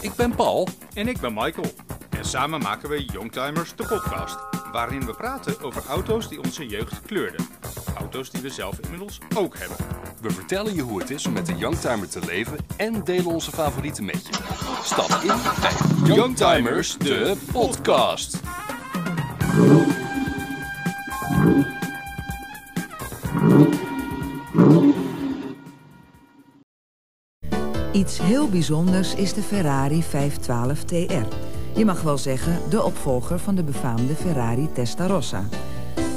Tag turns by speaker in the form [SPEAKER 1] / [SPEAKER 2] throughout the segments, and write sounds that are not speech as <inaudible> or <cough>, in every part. [SPEAKER 1] Ik ben Paul.
[SPEAKER 2] En ik ben Michael. En samen maken we Youngtimers, de podcast. Waarin we praten over auto's die onze jeugd kleurden. Auto's die we zelf inmiddels ook hebben.
[SPEAKER 1] We vertellen je hoe het is om met een Youngtimer te leven en delen onze favorieten met je. Stap in bij Youngtimers, de podcast.
[SPEAKER 3] Iets heel bijzonders is de Ferrari 512 TR. Je mag wel zeggen de opvolger van de befaamde Ferrari Testarossa.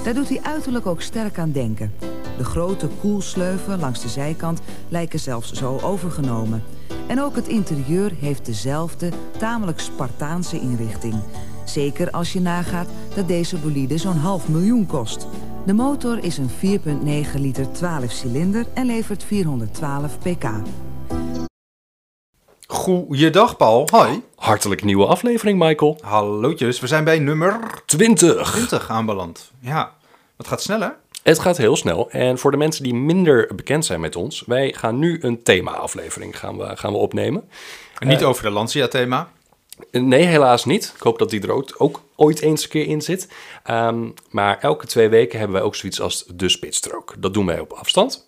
[SPEAKER 3] Daar doet hij uiterlijk ook sterk aan denken. De grote koelsleuven langs de zijkant lijken zelfs zo overgenomen. En ook het interieur heeft dezelfde, tamelijk Spartaanse inrichting. Zeker als je nagaat dat deze bolide zo'n half miljoen kost. De motor is een 4,9 liter 12 cilinder en levert 412 pk.
[SPEAKER 4] Goeiedag Paul, hoi.
[SPEAKER 1] Hartelijk nieuwe aflevering, Michael.
[SPEAKER 4] Hallootjes, we zijn bij nummer
[SPEAKER 1] 20.
[SPEAKER 4] 20 aanbeland. Ja, dat gaat sneller.
[SPEAKER 1] Het gaat heel snel. En voor de mensen die minder bekend zijn met ons, wij gaan nu een thema-aflevering gaan we, gaan we opnemen.
[SPEAKER 4] Niet over de Lancia-thema.
[SPEAKER 1] Nee, helaas niet. Ik hoop dat die er ook, ook ooit eens een keer in zit. Ehm, maar elke twee weken hebben wij ook zoiets als de spitstrook. Dat doen wij op afstand.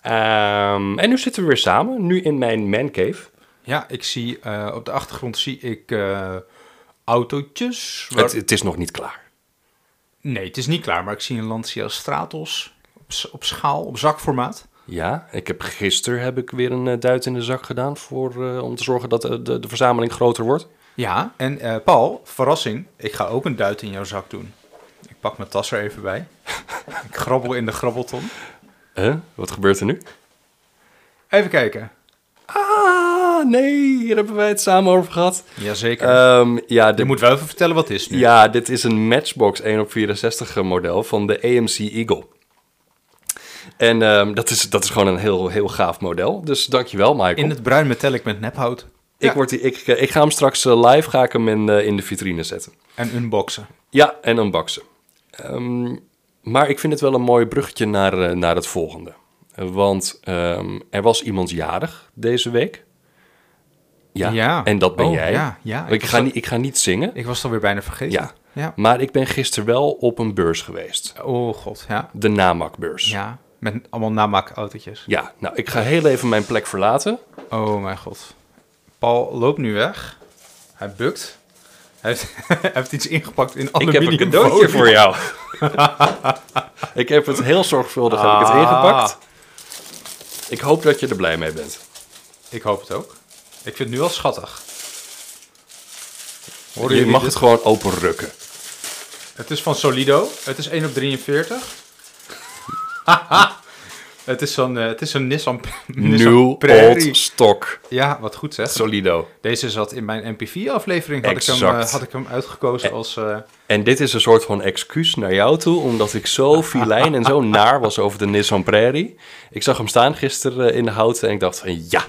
[SPEAKER 1] Ehm, en nu zitten we weer samen, nu in mijn mancave.
[SPEAKER 4] Ja, ik zie eh, op de achtergrond zie ik eh, autootjes. waar-
[SPEAKER 1] Het, het is nog niet klaar.
[SPEAKER 4] Nee, het is niet klaar, maar ik zie een Lancia Stratos op, s- op schaal, op zakformaat.
[SPEAKER 1] Ja, ik heb gisteren heb ik weer een eh, duit in de zak gedaan voor, eh, om te zorgen dat eh, de, de verzameling groter wordt.
[SPEAKER 4] Ja, en eh, Paul, verrassing, ik ga ook een duit in jouw zak doen. Ik pak mijn tas er even
[SPEAKER 1] <laughs>
[SPEAKER 4] bij. ik grabbel in de grabbelton.
[SPEAKER 1] Huh? Eh, Wat gebeurt er nu?
[SPEAKER 4] Even kijken.
[SPEAKER 1] Ah, nee, hier hebben wij het samen over gehad.
[SPEAKER 4] Jazeker.
[SPEAKER 1] Ehm, ja,
[SPEAKER 4] je
[SPEAKER 1] dit,
[SPEAKER 4] moet wel even vertellen wat het is nu.
[SPEAKER 1] ja, dit is een Matchbox 1 op 64 model van de AMC Eagle. En ehm, dat, is, dat is gewoon een heel, heel gaaf model. Dus dankjewel, Michael.
[SPEAKER 4] In het bruin metallic met nephout.
[SPEAKER 1] ik,
[SPEAKER 4] Ja.
[SPEAKER 1] word, die- ik, eh, ik ga hem straks eh, live ga ik hem in, eh, in de vitrine zetten.
[SPEAKER 4] En unboxen.
[SPEAKER 1] Ja, en unboxen. Ehm, maar ik vind het wel een mooi bruggetje naar, eh, naar het volgende. Eh, Want ehm, er was iemand jarig deze week. Ja,
[SPEAKER 4] Ja.
[SPEAKER 1] en dat ben
[SPEAKER 4] Oh,
[SPEAKER 1] jij.
[SPEAKER 4] ja, ja.
[SPEAKER 1] ik,
[SPEAKER 4] Ik
[SPEAKER 1] ga
[SPEAKER 4] was-
[SPEAKER 1] niet, ik ga niet zingen,
[SPEAKER 4] Ik was het alweer bijna vergeten.
[SPEAKER 1] Ja. maar ik ben gisteren wel op een beurs geweest.
[SPEAKER 4] Oh god, ja.
[SPEAKER 1] De namakbeurs.
[SPEAKER 4] Ja. Met allemaal namaakautootjes.
[SPEAKER 1] Ja, nou, ik ga heel even mijn plek verlaten.
[SPEAKER 4] Oh mijn god. Paul loopt nu weg. Hij bukt. Hij heeft, <laughs> hij heeft iets ingepakt in
[SPEAKER 1] Ik heb
[SPEAKER 4] aluminium.
[SPEAKER 1] een cadeautje
[SPEAKER 4] folie.
[SPEAKER 1] voor
[SPEAKER 4] <laughs>
[SPEAKER 1] jou. ik heb het heel zorgvuldig heb ik het
[SPEAKER 4] Ah.
[SPEAKER 1] ingepakt. Ik hoop dat je er blij mee bent.
[SPEAKER 4] Ik hoop het ook. Ik vind het nu al schattig. Horen
[SPEAKER 1] Je
[SPEAKER 4] jullie
[SPEAKER 1] mag
[SPEAKER 4] dit?
[SPEAKER 1] het gewoon open rukken.
[SPEAKER 4] Het is van Solido. Het is 1 op 43. <laughs> het, is zo'n, eh, het is een Nissan, Nissan
[SPEAKER 1] New
[SPEAKER 4] Prairie.
[SPEAKER 1] Old Stock
[SPEAKER 4] Ja, wat goed zeg.
[SPEAKER 1] Solido.
[SPEAKER 4] Deze zat in mijn MPV-aflevering. Had, ik hem,
[SPEAKER 1] Exact.
[SPEAKER 4] eh, had ik hem uitgekozen als... eh,
[SPEAKER 1] En dit is een soort van excuus naar jou toe, omdat ik zo filijn en zo naar was over de Nissan Prairie. Ik zag hem staan gisteren eh, in de houten en ik dacht van ja,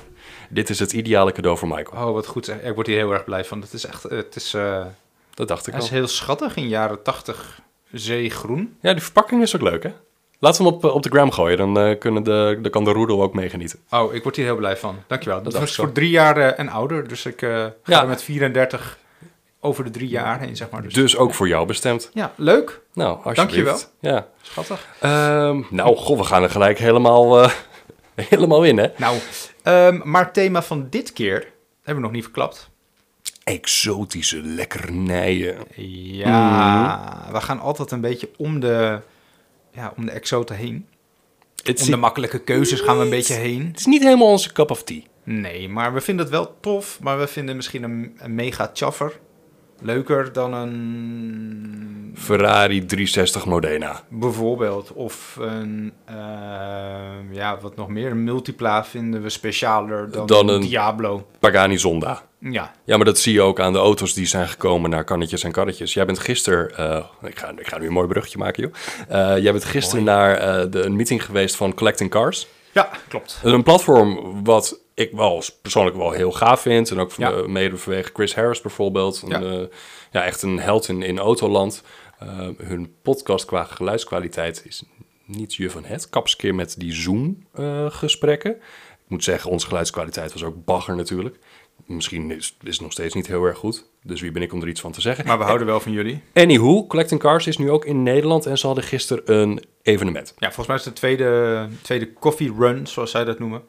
[SPEAKER 1] dit is het ideale cadeau voor Michael.
[SPEAKER 4] Oh, wat goed. zeg. Ik word hier heel erg blij van. Het is echt, eh, het is, eh,
[SPEAKER 1] Dat dacht ik
[SPEAKER 4] hij
[SPEAKER 1] al.
[SPEAKER 4] is heel schattig in jaren 80 zeegroen.
[SPEAKER 1] Ja, die verpakking is ook leuk hè. Laten we hem op, eh, op de gram gooien, dan, eh, kunnen de, dan kan de roedel ook meegenieten.
[SPEAKER 4] Oh, ik word hier heel blij van. Dankjewel. Dat
[SPEAKER 1] dacht
[SPEAKER 4] was
[SPEAKER 1] ik al.
[SPEAKER 4] voor drie jaar eh, en ouder. Dus ik eh, ga
[SPEAKER 1] Ja.
[SPEAKER 4] er met 34 over de drie jaar heen, zeg maar. Dus,
[SPEAKER 1] Dus ook voor jou bestemd.
[SPEAKER 4] ja, leuk.
[SPEAKER 1] Nou, alsjeblieft.
[SPEAKER 4] Dankjewel.
[SPEAKER 1] Ja.
[SPEAKER 4] Schattig.
[SPEAKER 1] Ehm, nou, goh, we gaan er gelijk helemaal, eh, <laughs> helemaal in hè.
[SPEAKER 4] Nou, ehm, maar het thema van dit keer hebben we nog niet verklapt.
[SPEAKER 1] Exotische lekkernijen.
[SPEAKER 4] Ja, we gaan altijd een beetje om de, ja, om de exoten heen.
[SPEAKER 1] Het
[SPEAKER 4] Om
[SPEAKER 1] zie-
[SPEAKER 4] de makkelijke keuzes gaan we een beetje heen.
[SPEAKER 1] het is niet helemaal onze cup of tea.
[SPEAKER 4] Nee, maar we vinden het wel tof. Maar we vinden misschien een, een mega chaffer leuker dan een
[SPEAKER 1] Ferrari 360 Modena.
[SPEAKER 4] bijvoorbeeld. Of een, eh, ja, wat nog meer. Een multipla vinden we specialer dan,
[SPEAKER 1] Dan
[SPEAKER 4] een
[SPEAKER 1] een-
[SPEAKER 4] Diablo.
[SPEAKER 1] Pagani Zonda.
[SPEAKER 4] Ja,
[SPEAKER 1] Ja, maar dat zie je ook aan de auto's die zijn gekomen naar kannetjes en karretjes. Jij bent gisteren... eh, ik, ga, ik ga nu een mooi bruggetje maken, joh. Eh, jij bent gisteren naar eh, de, een meeting geweest van Collecting Cars.
[SPEAKER 4] ja klopt.
[SPEAKER 1] Een platform wat ik wel persoonlijk wel heel gaaf vind. En ook van,
[SPEAKER 4] Ja.
[SPEAKER 1] eh, mede vanwege Chris Harris bijvoorbeeld. Een,
[SPEAKER 4] Ja.
[SPEAKER 1] eh, ja, echt een held in, in autoland. Eh, hun podcast qua geluidskwaliteit is niet je van het. Kaps keer eh, met die Zoom-gesprekken. ik moet zeggen, onze geluidskwaliteit was ook bagger natuurlijk. Misschien is, is het nog steeds niet heel erg goed. Dus wie ben ik om er iets van te zeggen? Eh,
[SPEAKER 4] Maar we houden wel van jullie.
[SPEAKER 1] Anywho, Collecting Cars is nu ook in Nederland en ze hadden gisteren een evenement.
[SPEAKER 4] Ja, volgens mij is het de tweede, tweede coffee run, zoals zij dat noemen.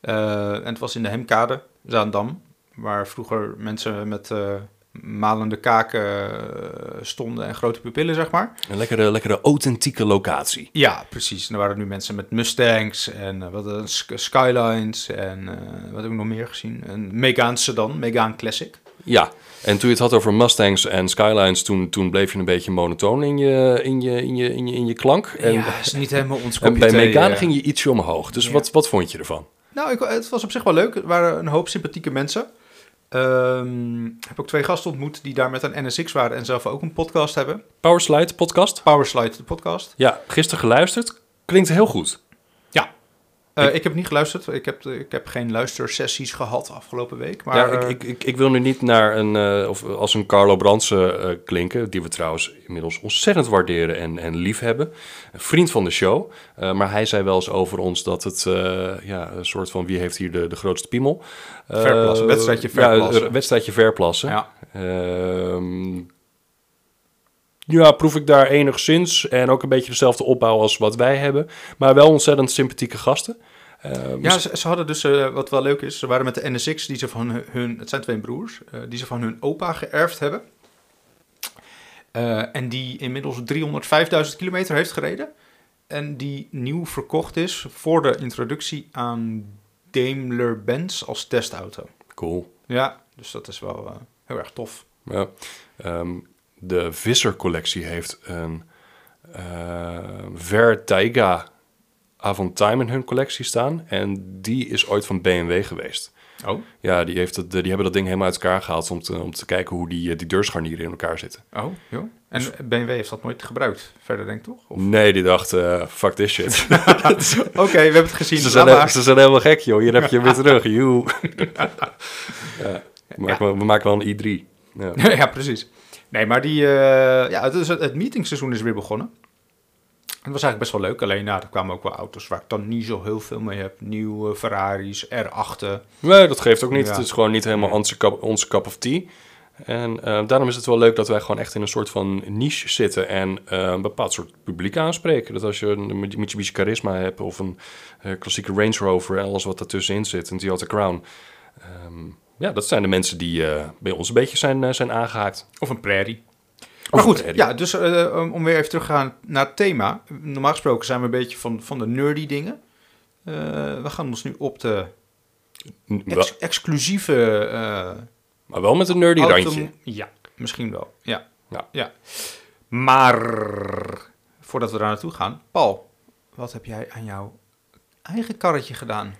[SPEAKER 4] Eh, en het was in de Hemkade, Zaandam, waar vroeger mensen met eh, malende kaken eh, stonden en grote pupillen, zeg maar.
[SPEAKER 1] Een lekkere, lekkere authentieke locatie.
[SPEAKER 4] Ja, precies. En er waren nu mensen met Mustangs en eh, wat, eh, Sk- Skylines en eh, wat heb ik nog meer gezien? Een Megane sedan, Megane Classic.
[SPEAKER 1] Ja, en toen je het had over Mustangs en Skylines, toen, toen bleef je een beetje monotoon in je, in je, in je, in je, in je klank. En,
[SPEAKER 4] ja, is niet helemaal ons <laughs>
[SPEAKER 1] en
[SPEAKER 4] kopje
[SPEAKER 1] bij
[SPEAKER 4] thee,
[SPEAKER 1] Megane
[SPEAKER 4] eh.
[SPEAKER 1] ging je ietsje omhoog. Dus
[SPEAKER 4] Ja.
[SPEAKER 1] wat, wat vond je ervan?
[SPEAKER 4] Nou, ik, het was op zich wel leuk. Er waren een hoop sympathieke mensen. Ehm, Ik heb ook twee gasten ontmoet die daar met een NSX waren en zelf ook een podcast hebben.
[SPEAKER 1] Powerslide podcast?
[SPEAKER 4] Powerslide, de podcast.
[SPEAKER 1] Ja, gisteren geluisterd. Klinkt heel goed.
[SPEAKER 4] Ja. Eh, ik, heb niet geluisterd. Ik heb, eh, ik heb geen luistersessies gehad afgelopen week. Maar
[SPEAKER 1] ja,
[SPEAKER 4] eh,
[SPEAKER 1] ik, ik, ik, ik wil nu niet naar een, eh, of als een Carlo Brandsen eh, klinken, die we trouwens inmiddels ontzettend waarderen en, en lief hebben. Een vriend van de show. Eh, maar hij zei wel eens over ons dat het eh, ja, een soort van wie heeft hier de, de grootste piemel. Eh,
[SPEAKER 4] Verplassen, wedstrijdje
[SPEAKER 1] Ja,
[SPEAKER 4] verplassen.
[SPEAKER 1] een wedstrijdje verplassen.
[SPEAKER 4] Ja.
[SPEAKER 1] Ehm, ja, proef ik daar enigszins. En ook een beetje dezelfde opbouw als wat wij hebben. Maar wel ontzettend sympathieke gasten. Ehm,
[SPEAKER 4] Ja, ze, ze hadden dus, eh, wat wel leuk is, ze waren met de NSX die ze van hun- hun, het zijn twee broers, eh, die ze van hun opa geërfd hebben. Eh, en die inmiddels 305.000 kilometer heeft gereden. En die nieuw verkocht is voor de introductie aan Daimler-Benz als testauto.
[SPEAKER 1] Cool.
[SPEAKER 4] Ja, dus dat is wel eh, heel erg tof.
[SPEAKER 1] Ja. Ehm, de Visser-collectie heeft een eh Vertaiga Avant Time in hun collectie staan. En die is ooit van BMW geweest.
[SPEAKER 4] Oh,
[SPEAKER 1] Ja, die, heeft het, die hebben dat ding helemaal uit elkaar gehaald om te, om te kijken hoe die, eh, die deursgarnieren in elkaar zitten.
[SPEAKER 4] oh, joh. En BMW heeft dat nooit gebruikt, verder denk ik <laughs> toch? Of-
[SPEAKER 1] Nee, die dacht, eh, fuck this <laughs> shit.
[SPEAKER 4] Oké, we hebben het gezien.
[SPEAKER 1] ze,
[SPEAKER 4] laat
[SPEAKER 1] zijn,
[SPEAKER 4] maar.
[SPEAKER 1] ze zijn helemaal gek, joh. Hier heb je hem <laughs> weer terug. Joe. ja, we, maken, wel- we maken wel een I3. Ja.
[SPEAKER 4] <laughs> ja, precies. Nee, maar die, eh, ja, het, is, het meetingseizoen is weer begonnen. Het was eigenlijk best wel leuk. Alleen, nou, er kwamen ook wel auto's waar ik dan niet zo heel veel mee heb. Nieuwe Ferraris, R8.
[SPEAKER 1] Nee, dat geeft ook niet.
[SPEAKER 4] Ja.
[SPEAKER 1] Het is gewoon niet helemaal onze cup, onze cup of tea. En eh, daarom is het wel leuk dat wij gewoon echt in een soort van niche zitten en eh, een bepaald soort publiek aanspreken. Dat als je een Mitsubishi Charisma hebt of een eh, klassieke Range Rover en alles wat daartussenin zit, een Toyota Crown. Ehm, ja, dat zijn de mensen die eh, bij ons een beetje zijn, eh, zijn aangehaakt.
[SPEAKER 4] Of een Prairie.
[SPEAKER 1] Of
[SPEAKER 4] Maar
[SPEAKER 1] een
[SPEAKER 4] goed,
[SPEAKER 1] Prairie.
[SPEAKER 4] ja, dus eh, om- om weer even terug te gaan naar het thema. Normaal gesproken zijn we een beetje van, van de nerdy dingen. Eh, we gaan ons nu op de
[SPEAKER 1] N- wel-
[SPEAKER 4] ex- exclusieve eh,
[SPEAKER 1] maar wel met een nerdy
[SPEAKER 4] Autom-
[SPEAKER 1] randje.
[SPEAKER 4] Ja, misschien wel. Ja.
[SPEAKER 1] Ja.
[SPEAKER 4] ja. Maar voordat we daar naartoe gaan, Paul, wat heb jij aan jouw eigen karretje gedaan?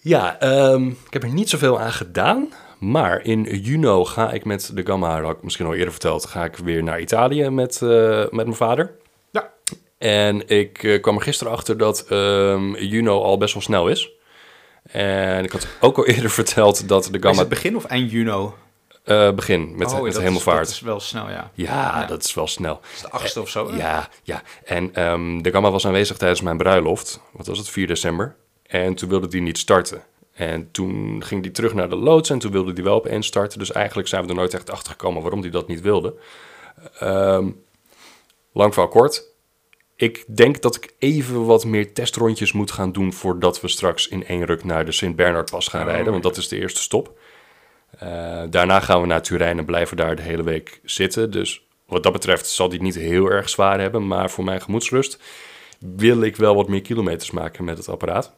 [SPEAKER 1] Ja, ehm, ik heb er niet zoveel aan gedaan. Maar in Juno ga ik met de Gamma, dat had ik misschien al eerder verteld, ga ik weer naar Italië met, eh, met mijn vader.
[SPEAKER 4] Ja.
[SPEAKER 1] En ik eh, kwam er gisteren achter dat ehm, Juno al best wel snel is. En ik had ook al <laughs> eerder verteld dat de
[SPEAKER 4] Is
[SPEAKER 1] Gamma
[SPEAKER 4] het begin of eind Juno?
[SPEAKER 1] eh, begin met,
[SPEAKER 4] Oh,
[SPEAKER 1] met
[SPEAKER 4] dat is-
[SPEAKER 1] hemelvaart.
[SPEAKER 4] Dat is wel snel, ja.
[SPEAKER 1] Ja, dat is wel snel.
[SPEAKER 4] is de achtste of zo. hè?
[SPEAKER 1] Ja, ja. En ehm, de gamma was aanwezig tijdens mijn bruiloft. Wat was het? 4 december. En toen wilde die niet starten. En toen ging die terug naar de loods en toen wilde die wel opeens starten. Dus eigenlijk zijn we er nooit echt achter gekomen waarom die dat niet wilde. Ehm, lang verhaal kort. Ik denk dat ik even wat meer testrondjes moet gaan doen voordat we straks in één ruk naar de Sint-Bernardpas gaan rijden. Want dat is de eerste stop. Eh, daarna gaan we naar Turijn en blijven daar de hele week zitten. Dus wat dat betreft zal die het niet heel erg zwaar hebben. Maar voor mijn gemoedsrust wil ik wel wat meer kilometers maken met het apparaat.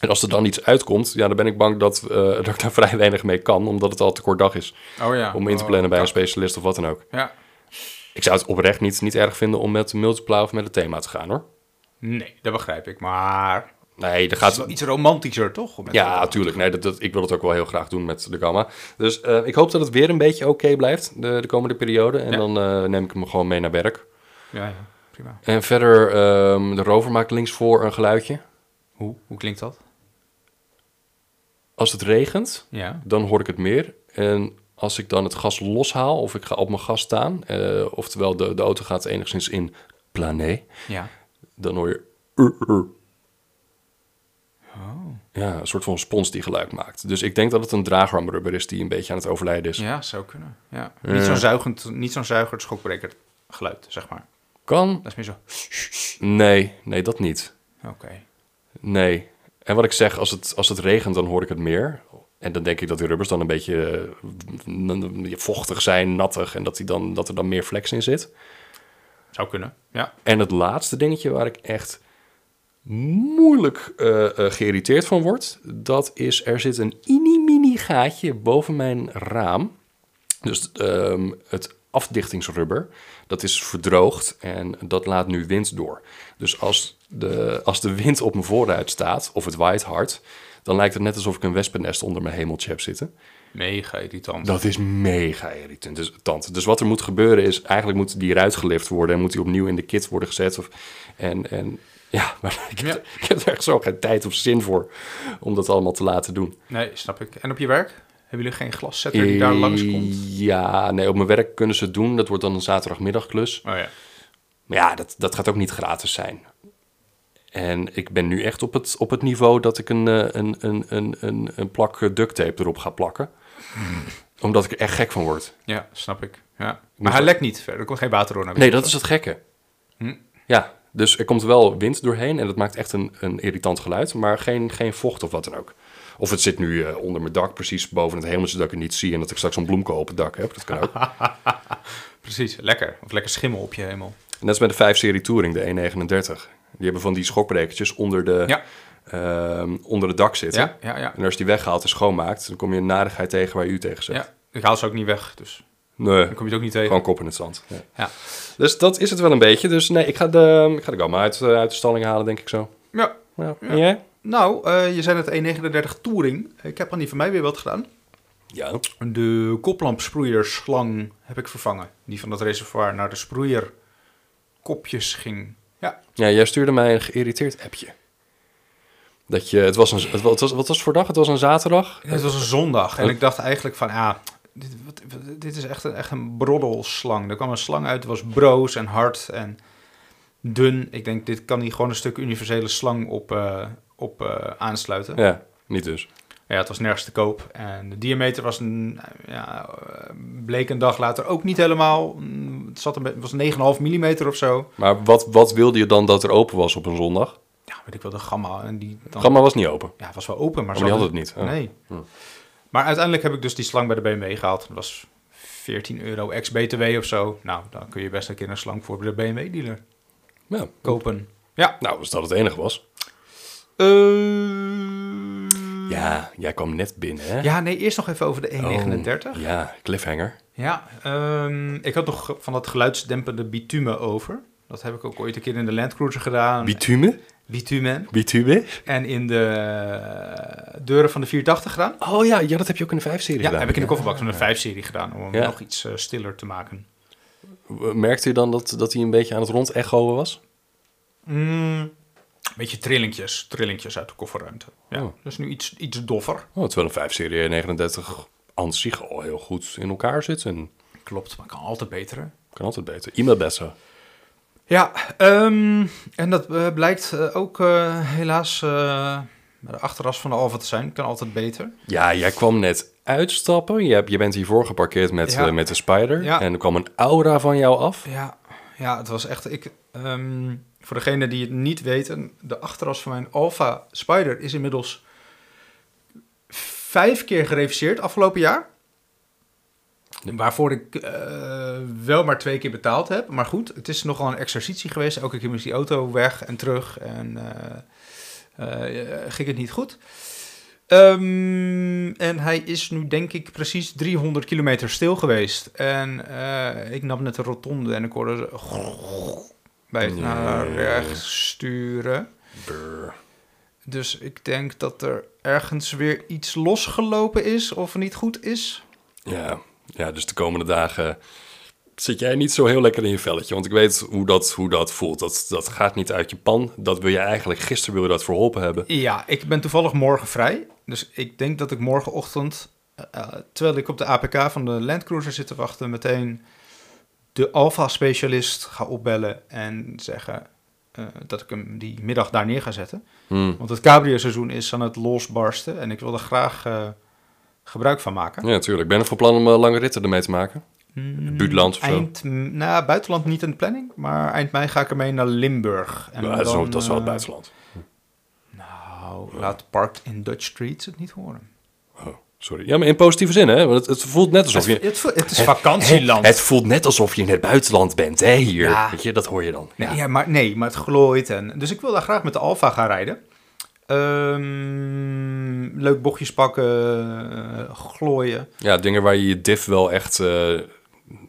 [SPEAKER 1] En als er dan iets uitkomt, ja, dan ben ik bang dat, eh, <laughs> dat ik daar vrij weinig mee kan. Omdat het al te kort dag is
[SPEAKER 4] Oh ja.
[SPEAKER 1] om in te
[SPEAKER 4] Oh,
[SPEAKER 1] plannen bij een
[SPEAKER 4] ja.
[SPEAKER 1] specialist of wat dan ook.
[SPEAKER 4] Ja.
[SPEAKER 1] Ik zou het oprecht niet, niet erg vinden om met de multipla of met het thema te gaan hoor.
[SPEAKER 4] Nee, dat begrijp ik. Maar
[SPEAKER 1] Nee, er
[SPEAKER 4] het is
[SPEAKER 1] gaat,
[SPEAKER 4] wel iets romantischer, toch? Om met
[SPEAKER 1] Ja,
[SPEAKER 4] elkaar-
[SPEAKER 1] natuurlijk. Nee, dat, dat- ik wil het ook wel heel graag doen met de gamma. Dus eh, ik hoop dat het weer een beetje oké blijft de, de komende periode. En
[SPEAKER 4] Ja.
[SPEAKER 1] dan eh, neem ik hem gewoon mee naar werk.
[SPEAKER 4] Ja, ja. Prima.
[SPEAKER 1] En verder, ehm, de rover maakt linksvoor een geluidje.
[SPEAKER 4] Hoe, hoe klinkt dat?
[SPEAKER 1] Als het regent,
[SPEAKER 4] Ja.
[SPEAKER 1] dan hoor ik het meer. En als ik dan het gas loshaal of ik ga op mijn gas staan... eh, oftewel de, de auto gaat enigszins in plané,
[SPEAKER 4] Ja.
[SPEAKER 1] dan hoor je... "Ur, ur."
[SPEAKER 4] Oh.
[SPEAKER 1] Ja, een soort van spons die geluid maakt. Dus ik denk dat het een draaghamrubber is die een beetje aan het overlijden is.
[SPEAKER 4] Ja, zou kunnen. Ja. Niet zo'n zuigend, niet zo'n zuigend schokbreker geluid, zeg maar.
[SPEAKER 1] Kan?
[SPEAKER 4] Dat is meer zo.
[SPEAKER 1] Nee, nee, dat niet.
[SPEAKER 4] Oké.
[SPEAKER 1] Nee. En wat ik zeg, als het, als het regent, dan hoor ik het meer. En dan denk ik dat die rubbers dan een beetje eh, vochtig zijn, nattig. En dat, die dan, dat er dan meer flex in zit.
[SPEAKER 4] Zou kunnen. Ja.
[SPEAKER 1] En het laatste dingetje waar ik echt moeilijk eh, eh, geïrriteerd van word, dat is er zit een mini-mini gaatje boven mijn raam. Dus ehm, het afdichtingsrubber, dat is verdroogd en dat laat nu wind door. Dus als de, als de wind op mijn voorruit staat, of het waait hard, dan lijkt het net alsof ik een wespennest onder mijn hemeltje heb zitten.
[SPEAKER 4] Mega irritant.
[SPEAKER 1] Dat is mega irritant. Dus, tant. dus wat er moet gebeuren is, eigenlijk moet die eruit gelift worden en moet die opnieuw in de kit worden gezet. Of, en, en ja, <laughs> maar ik heb,
[SPEAKER 4] Ja.
[SPEAKER 1] er- ik heb er echt zo geen tijd of zin voor om dat allemaal te laten doen.
[SPEAKER 4] Nee, snap ik. En op je werk? Hebben jullie geen glaszetter die daar langskomt?
[SPEAKER 1] Ja, nee, op mijn werk kunnen ze het doen. Dat wordt dan een zaterdagmiddagklus.
[SPEAKER 4] Oh ja.
[SPEAKER 1] Maar ja, dat, dat gaat ook niet gratis zijn. En ik ben nu echt op het, op het niveau dat ik een, eh, een, een, een, een, een plak eh, duct tape erop ga plakken.
[SPEAKER 4] Hmm.
[SPEAKER 1] Omdat ik er echt gek van word.
[SPEAKER 4] Ja, snap ik. Ja.
[SPEAKER 1] moet
[SPEAKER 4] Maar hij
[SPEAKER 1] wel-
[SPEAKER 4] lekt niet verder. Er komt geen water door naar
[SPEAKER 1] Nee,
[SPEAKER 4] binnen.
[SPEAKER 1] dat is het gekke.
[SPEAKER 4] Hm.
[SPEAKER 1] Ja, dus er komt wel wind doorheen en dat maakt echt een, een irritant geluid, maar geen, geen vocht of wat dan ook. Of het zit nu eh, onder mijn dak, precies boven het hemeltje dat ik het niet zie en dat ik straks een bloemkool op het dak heb. Dat kan
[SPEAKER 4] <laughs>
[SPEAKER 1] ook.
[SPEAKER 4] Precies. Lekker. Of lekker schimmel op je hemel.
[SPEAKER 1] Net als bij de 5-serie Touring, de 139. Die hebben van die schokbrekertjes onder, de,
[SPEAKER 4] Ja.
[SPEAKER 1] ehm, onder het dak zitten.
[SPEAKER 4] Ja, ja, ja.
[SPEAKER 1] En als je die weghaalt en schoonmaakt, dan kom je een narigheid tegen waar je u tegen zet.
[SPEAKER 4] Ja. Ik haal ze ook niet weg, dus
[SPEAKER 1] Nee,
[SPEAKER 4] dan kom je het ook niet tegen.
[SPEAKER 1] gewoon kop in het zand. Ja.
[SPEAKER 4] Ja.
[SPEAKER 1] Dus dat is het wel een beetje. Dus nee, ik ga de, ik ga de gamma uit, eh, uit de stalling halen, denk ik zo.
[SPEAKER 4] ja.
[SPEAKER 1] Ja. En jij?
[SPEAKER 4] Nou, eh, je zei het 1.39 Touring. Ik heb aan die van mij weer wat gedaan.
[SPEAKER 1] Ja.
[SPEAKER 4] De koplampsproeierslang heb ik vervangen. Die van dat reservoir naar de sproeier kopjes ging. Ja,
[SPEAKER 1] Ja, jij stuurde mij een geïrriteerd appje. Dat je, het was een, het wa- het was, wat was het voor dag? Het was een zaterdag.
[SPEAKER 4] het was een zondag. En ik dacht eigenlijk van, ah, dit, wat, wat- dit is echt een, echt een broddelslang. Er kwam een slang uit, die was broos en hard en dun. Ik denk, dit kan hier gewoon een stuk universele slang op, eh, op eh, aansluiten.
[SPEAKER 1] Ja, niet dus.
[SPEAKER 4] Ja, het was nergens te koop. En de diameter was, een, ja, eh, bleek een dag later ook niet helemaal. Mm, Het zat een, be- het was 9,5 mm of zo.
[SPEAKER 1] Maar wat, wat wilde je dan dat er open was op een zondag?
[SPEAKER 4] Ja, weet ik wel, de gamma. En die dan,
[SPEAKER 1] Gamma was niet open.
[SPEAKER 4] Ja, het was wel open, maar
[SPEAKER 1] Oh,
[SPEAKER 4] ze
[SPEAKER 1] die
[SPEAKER 4] hadden-
[SPEAKER 1] hadden het niet, Oh. Hm. hè?
[SPEAKER 4] Nee. Maar uiteindelijk heb ik dus die slang bij de BMW gehaald. Dat was 14 euro ex-BTW of zo. Nou, dan kun je best een keer een slang voor bij de BMW-dealer
[SPEAKER 1] Ja.
[SPEAKER 4] kopen. Ja.
[SPEAKER 1] Nou, als dat het enige was.
[SPEAKER 4] Eh,
[SPEAKER 1] Ja, jij kwam net binnen, hè?
[SPEAKER 4] Ja, nee, eerst nog even over de
[SPEAKER 1] Oh,
[SPEAKER 4] 139.
[SPEAKER 1] ja, cliffhanger.
[SPEAKER 4] Ja, ehm, ik had nog van dat geluidsdempende bitumen over. Dat heb ik ook ooit een keer in de Land Cruiser gedaan.
[SPEAKER 1] Bitumen?
[SPEAKER 4] bitumen.
[SPEAKER 1] Bitumen?
[SPEAKER 4] En in de eh, deuren van de 480 gedaan.
[SPEAKER 1] Oh ja, ja, dat heb je ook in de vijfserie
[SPEAKER 4] Ja,
[SPEAKER 1] gedaan.
[SPEAKER 4] heb ik in de kofferbak van de 5-serie gedaan. Om hem
[SPEAKER 1] Ja.
[SPEAKER 4] nog iets eh, stiller te maken.
[SPEAKER 1] Eh, Merkte je dan dat, dat hij een beetje aan het rondechoen was?
[SPEAKER 4] Mm, beetje trillingjes, trillingjes uit de kofferruimte. Ja,
[SPEAKER 1] Oh.
[SPEAKER 4] dus nu iets, iets doffer.
[SPEAKER 1] Oh, terwijl een vijfserie 39 aan zich al heel goed in elkaar zit. En
[SPEAKER 4] Klopt, maar kan altijd beteren.
[SPEAKER 1] kan altijd beter. Iemand beter.
[SPEAKER 4] Ja, ehm, en dat eh, blijkt eh, ook eh, helaas eh, de achterras van de Alfa te zijn. Kan altijd beter.
[SPEAKER 1] Ja, jij kwam net uitstappen. Je, hebt, je bent hiervoor geparkeerd met,
[SPEAKER 4] Ja.
[SPEAKER 1] eh, met de Spider.
[SPEAKER 4] Ja.
[SPEAKER 1] En er kwam een aura van jou af.
[SPEAKER 4] Ja, ja het was echt. Ik, ehm, voor degenen die het niet weten, de achteras van mijn Alfa Spider is inmiddels vijf keer gereviseerd afgelopen jaar. Waarvoor ik eh, wel maar twee keer betaald heb. Maar goed, het is nogal een exercitie geweest. Elke keer moest die auto weg en terug. En eh, eh, ging het niet goed. Ehm, en hij is nu denk ik precies 300 kilometer stil geweest. En eh, ik nam net de rotonde en ik hoorde ze bij het naar rechts sturen.
[SPEAKER 1] Brr.
[SPEAKER 4] Dus ik denk dat er ergens weer iets losgelopen is of niet goed is.
[SPEAKER 1] Ja. ja, dus de komende dagen zit jij niet zo heel lekker in je velletje. Want ik weet hoe dat, hoe dat voelt. Dat, dat gaat niet uit je pan. Dat wil je eigenlijk, gisteren wil je dat verholpen hebben.
[SPEAKER 4] Ja, ik ben toevallig morgen vrij. Dus ik denk dat ik morgenochtend, eh, terwijl ik op de APK van de Land Cruiser zit te wachten, meteen de Alfa-specialist ga opbellen en zeggen: eh, dat ik hem die middag daar neer ga zetten.
[SPEAKER 1] Hmm.
[SPEAKER 4] Want het cabrio-seizoen is aan het losbarsten en ik wil er graag eh, gebruik van maken.
[SPEAKER 1] Ja, natuurlijk. Ben je van plan om eh, lange ritten ermee te maken?
[SPEAKER 4] Mm,
[SPEAKER 1] buurtland of zo?
[SPEAKER 4] Eind, m- nou, buitenland niet in de planning, maar eind mei ga ik ermee naar Limburg. En
[SPEAKER 1] Ja, dat, is
[SPEAKER 4] dan,
[SPEAKER 1] wel, dat is wel het
[SPEAKER 4] eh,
[SPEAKER 1] buitenland.
[SPEAKER 4] Nou, laat Park in Dutch Streets het niet horen.
[SPEAKER 1] Oh, sorry. Ja, maar in positieve zin, hè? Want het, het voelt net alsof je...
[SPEAKER 4] Het, het, vo- het is vakantieland.
[SPEAKER 1] Het voelt net alsof je in het buitenland bent, hè, hier.
[SPEAKER 4] Ja.
[SPEAKER 1] Weet je, dat hoor je dan.
[SPEAKER 4] Nee, ja, maar, nee, maar het glooit. En, dus ik wil daar graag met de Alfa gaan rijden. Ehm, leuk bochtjes pakken, eh, glooien.
[SPEAKER 1] Ja, dingen waar je je diff wel echt eh,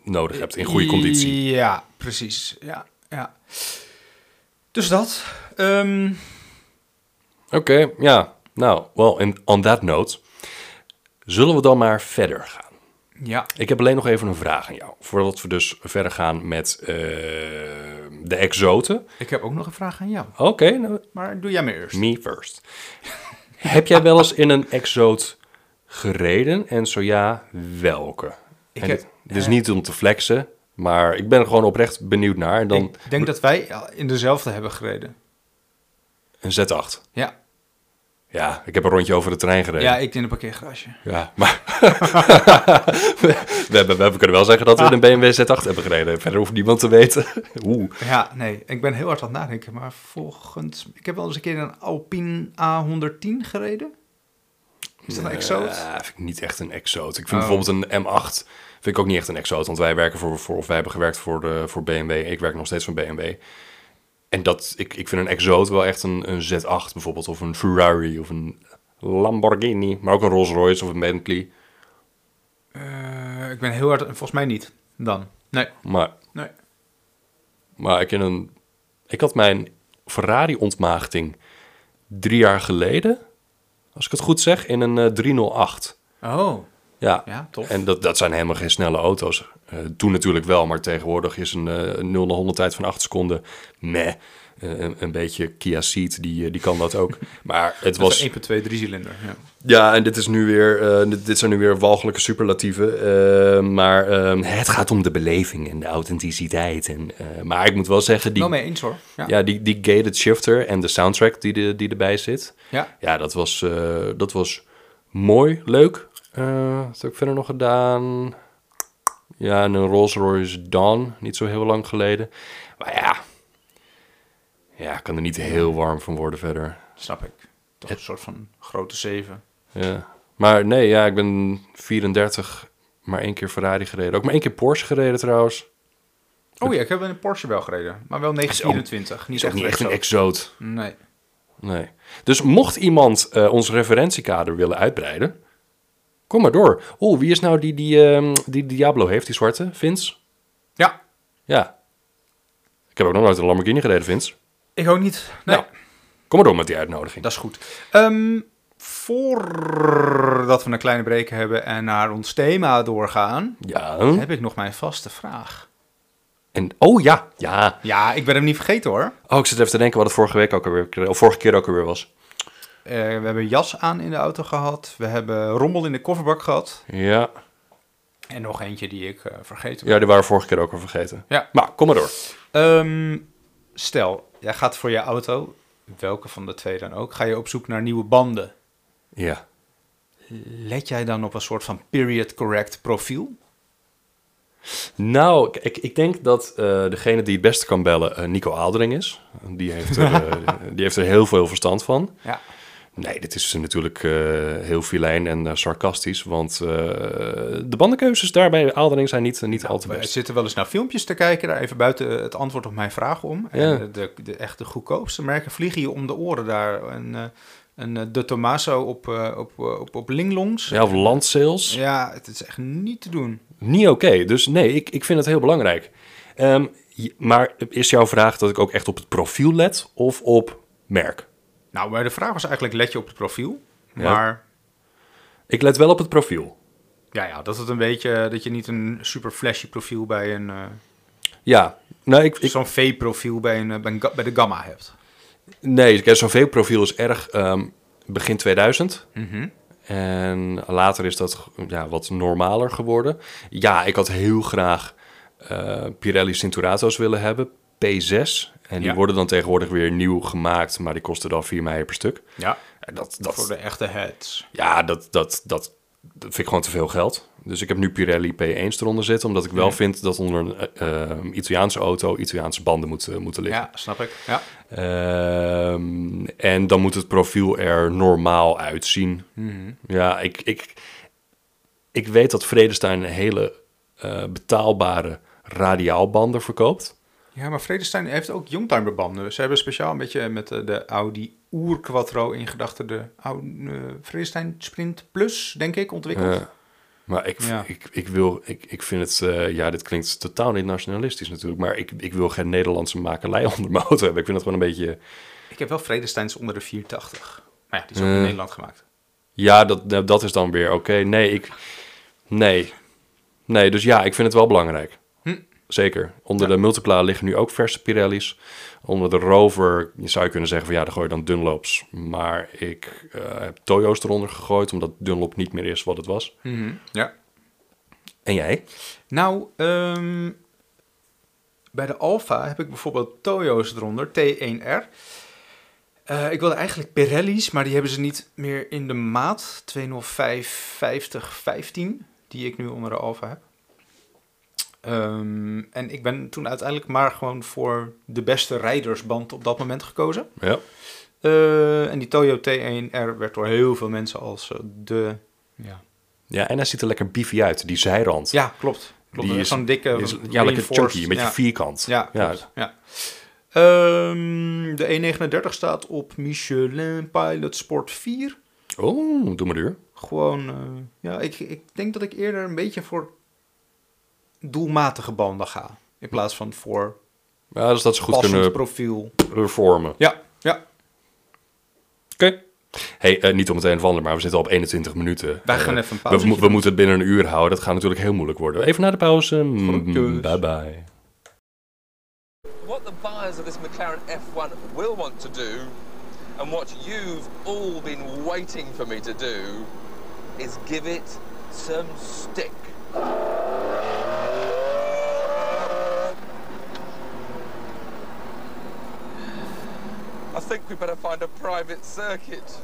[SPEAKER 1] nodig hebt in goede conditie.
[SPEAKER 4] Ja, precies. Ja, ja. Dus dat. Ehm,
[SPEAKER 1] Oké, ja. Nou, wel, en on that note, zullen we dan maar verder gaan?
[SPEAKER 4] ja.
[SPEAKER 1] Ik heb alleen nog even een vraag aan jou, voordat we dus verder gaan met eh, de exoten.
[SPEAKER 4] Ik heb ook nog een vraag aan jou.
[SPEAKER 1] Oké, nou,
[SPEAKER 4] Maar doe jij maar eerst.
[SPEAKER 1] me first. heb jij wel eens in een exoot gereden? En zo ja, welke?
[SPEAKER 4] Ik
[SPEAKER 1] En
[SPEAKER 4] heb-
[SPEAKER 1] dit, dit is niet om te flexen, maar ik ben er gewoon oprecht benieuwd naar. En dan
[SPEAKER 4] Ik denk dat wij in dezelfde hebben gereden.
[SPEAKER 1] een Z8.
[SPEAKER 4] Ja,
[SPEAKER 1] Ja, ik heb een rondje over de trein gereden.
[SPEAKER 4] ja ik in een parkeergarage.
[SPEAKER 1] Ja, maar <laughs> we, hebben, we kunnen wel zeggen dat
[SPEAKER 4] Ah.
[SPEAKER 1] we een BMW Z8 hebben gereden. Verder hoeft niemand te weten. <laughs> Oeh.
[SPEAKER 4] Ja, nee, ik ben heel hard aan het nadenken. Maar volgens... Ik heb wel eens een keer een Alpine A110 gereden. Is dat een exoot?
[SPEAKER 1] Eh, vind ik niet echt een exoot. Ik vind bijvoorbeeld een M8 vind ik ook niet echt een exoot. Want wij werken voor, voor of wij hebben gewerkt voor, de, voor BMW. Ik werk nog steeds voor BMW. En dat, ik, ik vind een exoot wel echt een, een Z8 bijvoorbeeld. Of een Ferrari of een Lamborghini. Maar ook een Rolls Royce of een Bentley.
[SPEAKER 4] Eh, ik ben heel hard... Volgens mij niet dan. Nee.
[SPEAKER 1] Maar
[SPEAKER 4] nee.
[SPEAKER 1] Maar ik, in een, ik had mijn Ferrari-ontmaagding drie jaar geleden, als ik het goed zeg, in een eh, 308.
[SPEAKER 4] Oh.
[SPEAKER 1] Ja,
[SPEAKER 4] Ja, tof.
[SPEAKER 1] en dat, dat zijn helemaal geen snelle auto's. Eh, toen natuurlijk wel, maar tegenwoordig is een eh 0 naar 100 tijd van 8 seconden, meh. Eh, een, een beetje Kia Ceed, die, eh, die kan dat ook. <laughs> Maar het
[SPEAKER 4] Dat was
[SPEAKER 1] was...
[SPEAKER 4] een 1.2 driecilinder. Ja.
[SPEAKER 1] Ja, en dit, is nu weer, eh, dit, dit zijn nu weer walgelijke superlatieven. eh, maar eh, het gaat om de beleving en de authenticiteit. En, eh, maar ik moet wel zeggen, die,
[SPEAKER 4] Wel mee eens hoor. Ja.
[SPEAKER 1] ja, die, die gated shifter en de soundtrack die, de, die erbij zit.
[SPEAKER 4] Ja.
[SPEAKER 1] Ja, dat was, eh, dat was mooi, leuk. Eh wat heb ik verder nog gedaan? Ja, en een Rolls Royce Dawn, niet zo heel lang geleden. Maar ja, ja, ik kan er niet heel warm van worden verder.
[SPEAKER 4] Snap ik. Toch een soort van grote 7.
[SPEAKER 1] Ja. Maar nee, ja, ik ben 34, maar één keer Ferrari gereden. Ook maar één keer Porsche gereden trouwens.
[SPEAKER 4] Oh ja, ik heb in een Porsche wel gereden. Maar wel 924. Niet
[SPEAKER 1] Is ook
[SPEAKER 4] echt,
[SPEAKER 1] niet echt een
[SPEAKER 4] exoot.
[SPEAKER 1] exoot.
[SPEAKER 4] Nee.
[SPEAKER 1] Nee. Dus mocht iemand eh, ons referentiekader willen uitbreiden, kom maar door. Oeh, wie is nou die, die, ehm, die Diablo heeft, die zwarte? Vince?
[SPEAKER 4] Ja.
[SPEAKER 1] Ja. Ik heb ook nog nooit een Lamborghini gereden, Vince.
[SPEAKER 4] Ik ook niet. Nee.
[SPEAKER 1] Nou, kom maar door met die uitnodiging.
[SPEAKER 4] Dat is goed. Ehm, voordat we een kleine break hebben en naar ons thema doorgaan,
[SPEAKER 1] Ja.
[SPEAKER 4] heb ik nog mijn vaste vraag.
[SPEAKER 1] En, oh ja, ja.
[SPEAKER 4] Ja, ik ben hem niet vergeten hoor.
[SPEAKER 1] Oh, ik zit even te denken wat het vorige week ook alweer, of vorige keer ook alweer was.
[SPEAKER 4] Eh, we hebben jas aan in de auto gehad. We hebben rommel in de kofferbak gehad.
[SPEAKER 1] Ja.
[SPEAKER 4] En nog eentje die ik eh, vergeten ben.
[SPEAKER 1] Ja, die waren we vorige keer ook al vergeten.
[SPEAKER 4] Ja.
[SPEAKER 1] Maar, kom maar door.
[SPEAKER 4] Ehm, stel, jij gaat voor je auto, welke van de twee dan ook, ga je op zoek naar nieuwe banden.
[SPEAKER 1] Ja.
[SPEAKER 4] Let jij dan op een soort van period correct profiel?
[SPEAKER 1] Nou, ik- ik, ik denk dat eh, degene die het beste kan bellen eh, Nico Aaldering is. Die heeft, er, eh, die heeft er heel veel verstand van.
[SPEAKER 4] Ja.
[SPEAKER 1] Nee, dit is natuurlijk eh, heel filijn en eh, sarcastisch. Want eh, de bandenkeuzes daarbij bij Aaldering zijn niet, niet al te
[SPEAKER 4] We
[SPEAKER 1] best.
[SPEAKER 4] Eh, zitten wel eens naar filmpjes te kijken, daar even buiten het antwoord op mijn vraag om.
[SPEAKER 1] Ja.
[SPEAKER 4] En eh, de, de, echt de goedkoopste merken vliegen je om de oren daar. En, eh, en eh, de Tomaso op, eh, op, eh, op, op Linglongs.
[SPEAKER 1] Ja, of landsales.
[SPEAKER 4] Ja, het is echt niet te doen.
[SPEAKER 1] Niet oké. Dus nee, ik, ik vind het heel belangrijk. Ehm, j- maar is jouw vraag dat ik ook echt op het profiel let of op merk?
[SPEAKER 4] Nou, maar de vraag was eigenlijk, let je op het profiel?
[SPEAKER 1] Ja.
[SPEAKER 4] Maar
[SPEAKER 1] Ik let wel op het profiel.
[SPEAKER 4] ja, ja, dat het een beetje, dat je niet een super flashy profiel bij een... eh,
[SPEAKER 1] Ja, nou, ik, ik,
[SPEAKER 4] zo'n V-profiel bij, een, eh, bij, een ga- bij de Gamma hebt.
[SPEAKER 1] Nee, kijk, zo'n V-profiel is erg ehm, begin 2000. En later is dat ja, wat normaler geworden. Ja, ik had heel graag eh, Pirelli Cinturato's willen hebben. P6 En die
[SPEAKER 2] Ja.
[SPEAKER 1] worden dan tegenwoordig weer nieuw gemaakt, maar die kosten dan 4 mei per stuk.
[SPEAKER 2] Ja.
[SPEAKER 1] En dat,
[SPEAKER 4] Voor
[SPEAKER 1] dat,
[SPEAKER 4] de echte heads.
[SPEAKER 1] ja, dat, dat, dat, dat vind ik gewoon te veel geld. Dus ik heb nu Pirelli P1's eronder zitten, omdat ik wel vind dat onder een eh, eh, Italiaanse auto Italiaanse banden moeten, moeten liggen.
[SPEAKER 4] Ja, snap ik. Ja.
[SPEAKER 1] Ehm, en dan moet het profiel er normaal uitzien. Ja, ik, ik, ik weet dat Vredestein een hele eh, betaalbare radiaalbanden verkoopt.
[SPEAKER 4] ja, maar Vredestein heeft ook youngtimerbanden. Ze hebben speciaal een beetje met eh, de Audi Oerquattro in gedachten de Audi, eh, Vredestein Sprint Plus, denk ik, ontwikkeld.
[SPEAKER 1] Eh, maar ik,
[SPEAKER 4] Ja.
[SPEAKER 1] ik, ik wil, ik, ik vind het, eh, ja, dit klinkt totaal niet nationalistisch natuurlijk, maar ik, ik wil geen Nederlandse makelij <laughs> onder mijn auto hebben. Ik vind het gewoon een beetje,
[SPEAKER 4] Ik heb wel Vredesteins onder de 480. Maar ja, die is ook
[SPEAKER 1] Eh.
[SPEAKER 4] in Nederland gemaakt.
[SPEAKER 1] ja, dat, dat- dat is dan weer oké. Nee, ik, nee, nee, dus ja, ik vind het wel belangrijk.
[SPEAKER 4] Hm.
[SPEAKER 1] Zeker. Onder de Multipla liggen nu ook verse Pirelli's. Onder de Rover je zou je kunnen zeggen van ja, daar gooi je dan Dunlops. Maar ik eh, heb Toyo's eronder gegooid, omdat Dunlop niet meer is wat het was.
[SPEAKER 4] Mhm, Ja.
[SPEAKER 1] En jij?
[SPEAKER 4] Nou, ehm, bij de Alfa heb ik bijvoorbeeld Toyo's eronder, T1R. Eh, ik wilde eigenlijk Pirelli's, maar die hebben ze niet meer in de maat. 205 50 15, die ik nu onder de Alfa heb. Ehm, en ik ben toen uiteindelijk maar gewoon voor de beste rijdersband op dat moment gekozen.
[SPEAKER 1] Ja.
[SPEAKER 4] Eh, en die Toyo T1R werd door heel veel mensen als eh, de... Ja,
[SPEAKER 1] ja, en hij ziet er lekker beefy uit, die zijrand.
[SPEAKER 4] ja klopt. klopt.
[SPEAKER 1] Die
[SPEAKER 4] Die
[SPEAKER 1] is-
[SPEAKER 4] is zo'n dikke...
[SPEAKER 1] Die is- ja, lekker
[SPEAKER 4] reinforced-
[SPEAKER 1] chunky, een beetje
[SPEAKER 4] ja.
[SPEAKER 1] vierkant.
[SPEAKER 4] Ja,
[SPEAKER 1] ja.
[SPEAKER 4] klopt. Ja. Ehm, de 1,39 staat op Michelin Pilot Sport 4.
[SPEAKER 1] Oh, doe maar duur.
[SPEAKER 4] Gewoon, eh, ja, ik, ik denk dat ik eerder een beetje voor doelmatige banden ga. In plaats van voor
[SPEAKER 1] Ja, dus dat ze goed
[SPEAKER 4] passend
[SPEAKER 1] kunnen
[SPEAKER 4] profiel.
[SPEAKER 1] performen.
[SPEAKER 4] Ja, ja.
[SPEAKER 1] Oké. Hey, eh, niet om het een of ander, maar we zitten al op 21 minuten.
[SPEAKER 4] Wij
[SPEAKER 1] Eh,
[SPEAKER 4] gaan even een
[SPEAKER 1] we,
[SPEAKER 4] pauzetje
[SPEAKER 1] mo- we moeten het binnen een uur houden. Dat gaat natuurlijk heel moeilijk worden. Even na de pauze. Mm,
[SPEAKER 4] Groetjes.
[SPEAKER 1] Bye bye.
[SPEAKER 5] What the buyers of this McLaren F1 will want to do, and what you've all been waiting for me to do, is give it some stick. I think we better find a private circuit.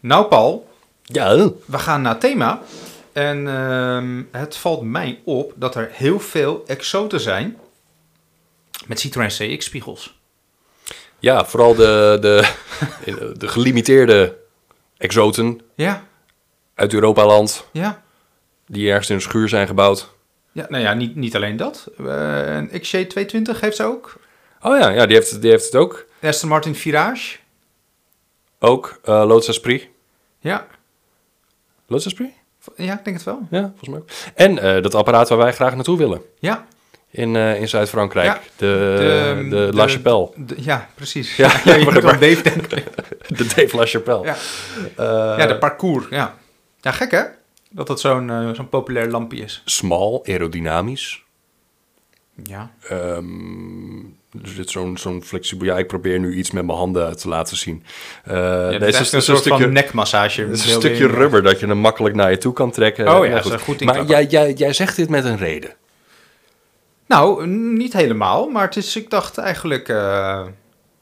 [SPEAKER 4] Nou, Paul,
[SPEAKER 1] Ja.
[SPEAKER 4] we gaan naar thema. En ehm, het valt mij op dat er heel veel exoten zijn met Citroën CX-spiegels.
[SPEAKER 1] Ja, vooral de, <laughs> de, de gelimiteerde exoten
[SPEAKER 4] Ja,
[SPEAKER 1] uit Europaland.
[SPEAKER 4] ja.
[SPEAKER 1] Die ergens in een schuur zijn gebouwd.
[SPEAKER 4] Ja, nou ja, niet, niet alleen dat. Eh, een XJ220 heeft ze ook.
[SPEAKER 1] Oh ja, ja die, heeft, die heeft het ook.
[SPEAKER 4] Aston Martin Virage.
[SPEAKER 1] Ook eh Lotus Esprit.
[SPEAKER 4] Ja,
[SPEAKER 1] Lotus Esprit?
[SPEAKER 4] v- ja, ik denk het wel.
[SPEAKER 1] Ja, volgens mij ook. En eh, dat apparaat waar wij graag naartoe willen.
[SPEAKER 4] Ja.
[SPEAKER 1] In, eh, in Zuid-Frankrijk.
[SPEAKER 4] Ja.
[SPEAKER 1] De, de, La Chapelle.
[SPEAKER 4] de- ja,
[SPEAKER 1] <laughs>
[SPEAKER 4] precies.
[SPEAKER 1] Ja,
[SPEAKER 4] Ja, ja je
[SPEAKER 1] maar-
[SPEAKER 4] moet aan Dave denken.
[SPEAKER 1] De Dave La Chapelle. <laughs>
[SPEAKER 4] Ja.
[SPEAKER 1] Eh,
[SPEAKER 4] ja, de parcours. Ja. ja, gek hè? Dat dat zo'n eh, zo'n populair lampje is.
[SPEAKER 1] Smal, aerodynamisch. Eh,
[SPEAKER 4] Ja.
[SPEAKER 1] Ehm, er zit zo'n zo'n flexibel... Ja, ik probeer nu iets met mijn handen te laten zien. Eh,
[SPEAKER 4] ja
[SPEAKER 1] nee,
[SPEAKER 4] dat
[SPEAKER 1] het
[SPEAKER 4] is
[SPEAKER 1] is
[SPEAKER 4] een soort van
[SPEAKER 1] stukje,
[SPEAKER 4] nekmassage.
[SPEAKER 1] het is een stukje rubber dat je hem makkelijk naar je toe kan trekken.
[SPEAKER 4] Oh ja,
[SPEAKER 1] Nou
[SPEAKER 4] dat is een goed
[SPEAKER 1] Maar
[SPEAKER 4] inklapper.
[SPEAKER 1] jij, jij, jij zegt dit met een reden.
[SPEAKER 4] Nou, niet helemaal, maar het is, ik dacht eigenlijk... eh,
[SPEAKER 1] Ja,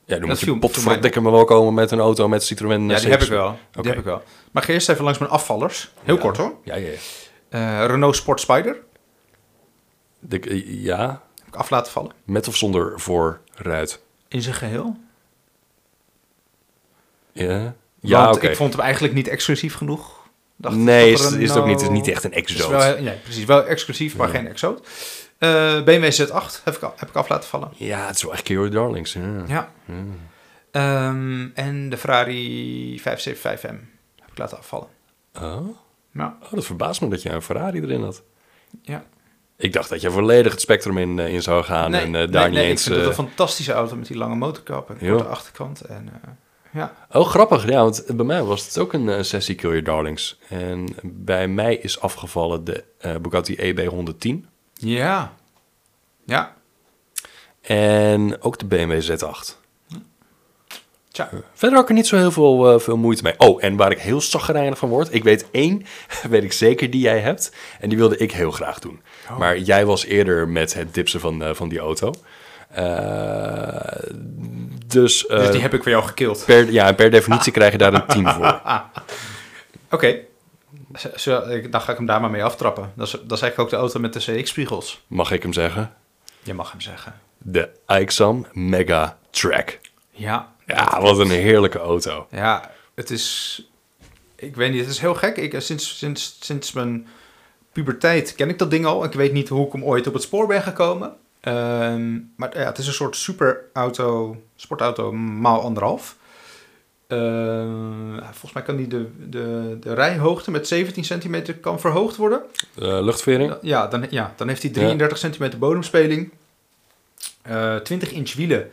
[SPEAKER 1] dan
[SPEAKER 4] Dat
[SPEAKER 1] moet je
[SPEAKER 4] viel-
[SPEAKER 1] potverdikke me wel komen met een auto met Citroën.
[SPEAKER 4] ja,
[SPEAKER 1] eh,
[SPEAKER 4] die heb, ik
[SPEAKER 1] CX.
[SPEAKER 4] wel.
[SPEAKER 1] Oké.
[SPEAKER 4] die heb ik wel. Maar ga eerst even langs mijn afvallers. Heel kort hoor.
[SPEAKER 1] Ja, ja, ja.
[SPEAKER 4] Eh, Renault Sport Spider.
[SPEAKER 1] De- eh, ja,
[SPEAKER 4] Heb ik af laten vallen.
[SPEAKER 1] met of zonder voorruit.
[SPEAKER 4] In zijn geheel?
[SPEAKER 1] Ja,
[SPEAKER 4] Ja,
[SPEAKER 1] ja
[SPEAKER 4] Want
[SPEAKER 1] oké.
[SPEAKER 4] ik vond hem eigenlijk niet exclusief genoeg. Dacht ik
[SPEAKER 1] Nee,
[SPEAKER 4] dat
[SPEAKER 1] is, is het ook
[SPEAKER 4] Renault-
[SPEAKER 1] niet. Het is niet echt een
[SPEAKER 4] Is
[SPEAKER 1] exoot.
[SPEAKER 4] wel, nee, precies. Wel exclusief, maar geen exoot. Eh BMW Z8 heb ik, al- heb ik af laten vallen.
[SPEAKER 1] Ja, het is wel echt Kiro Darlings. Ja.
[SPEAKER 4] Ja. Ehm, en de Ferrari 575M heb ik laten afvallen.
[SPEAKER 1] Oh,
[SPEAKER 4] Ja.
[SPEAKER 1] oh, dat verbaast me dat je een Ferrari erin had.
[SPEAKER 4] ja.
[SPEAKER 1] Ik dacht dat je volledig het spectrum in, eh, in zou gaan en eh, daar niet
[SPEAKER 4] nee,
[SPEAKER 1] eens...
[SPEAKER 4] ik vind
[SPEAKER 1] eh,
[SPEAKER 4] het een fantastische auto met die lange motorkap en de
[SPEAKER 1] Ja.
[SPEAKER 4] korte achterkant. En, eh, ja.
[SPEAKER 1] Oh, grappig. Ja, want bij mij was het ook een eh, sessie Kill Your Darlings. En bij mij is afgevallen de eh, Bugatti EB110
[SPEAKER 4] ja. Ja.
[SPEAKER 1] en ook de BMW Z8.
[SPEAKER 4] Tja.
[SPEAKER 1] Verder had ik er niet zo heel veel, eh, veel moeite mee. Oh, en waar ik heel zagrijnig van word. Ik weet één, <laughs> weet ik zeker, die jij hebt.
[SPEAKER 4] Oh.
[SPEAKER 1] En die wilde ik heel graag doen. Maar jij was eerder met het dipsen van, eh, van die auto. Eh, Eh, dus eh,
[SPEAKER 4] dus die heb ik voor jou gekild. Oké.
[SPEAKER 1] per, ja, per
[SPEAKER 4] <laughs>
[SPEAKER 1] definitie krijg je daar een 10 voor.
[SPEAKER 4] Z- zo- ik- Dan ga ik hem daar maar mee aftrappen. Dat is, dat is eigenlijk ook de auto met de CX-spiegels.
[SPEAKER 1] Mag ik hem zeggen?
[SPEAKER 4] Je mag hem zeggen.
[SPEAKER 1] De Aixam Mega Track.
[SPEAKER 4] Ja.
[SPEAKER 1] Ja, wat een heerlijke auto.
[SPEAKER 4] Ja, het is... Ik weet niet, het is heel gek. Ik, eh, sinds, sinds, sinds mijn puberteit ken ik dat ding al. Ik weet niet hoe ik hem ooit op het spoor ben gekomen. Ehm, maar ja, het is een soort superauto, sportauto maal anderhalf. Ehm, volgens mij kan die de, de, de rijhoogte met 17 centimeter kan verhoogd worden.
[SPEAKER 1] Eh, luchtvering?
[SPEAKER 4] Ja, dan, ja, dan heeft hij 33 centimeter bodemspeling. eh 20 inch wielen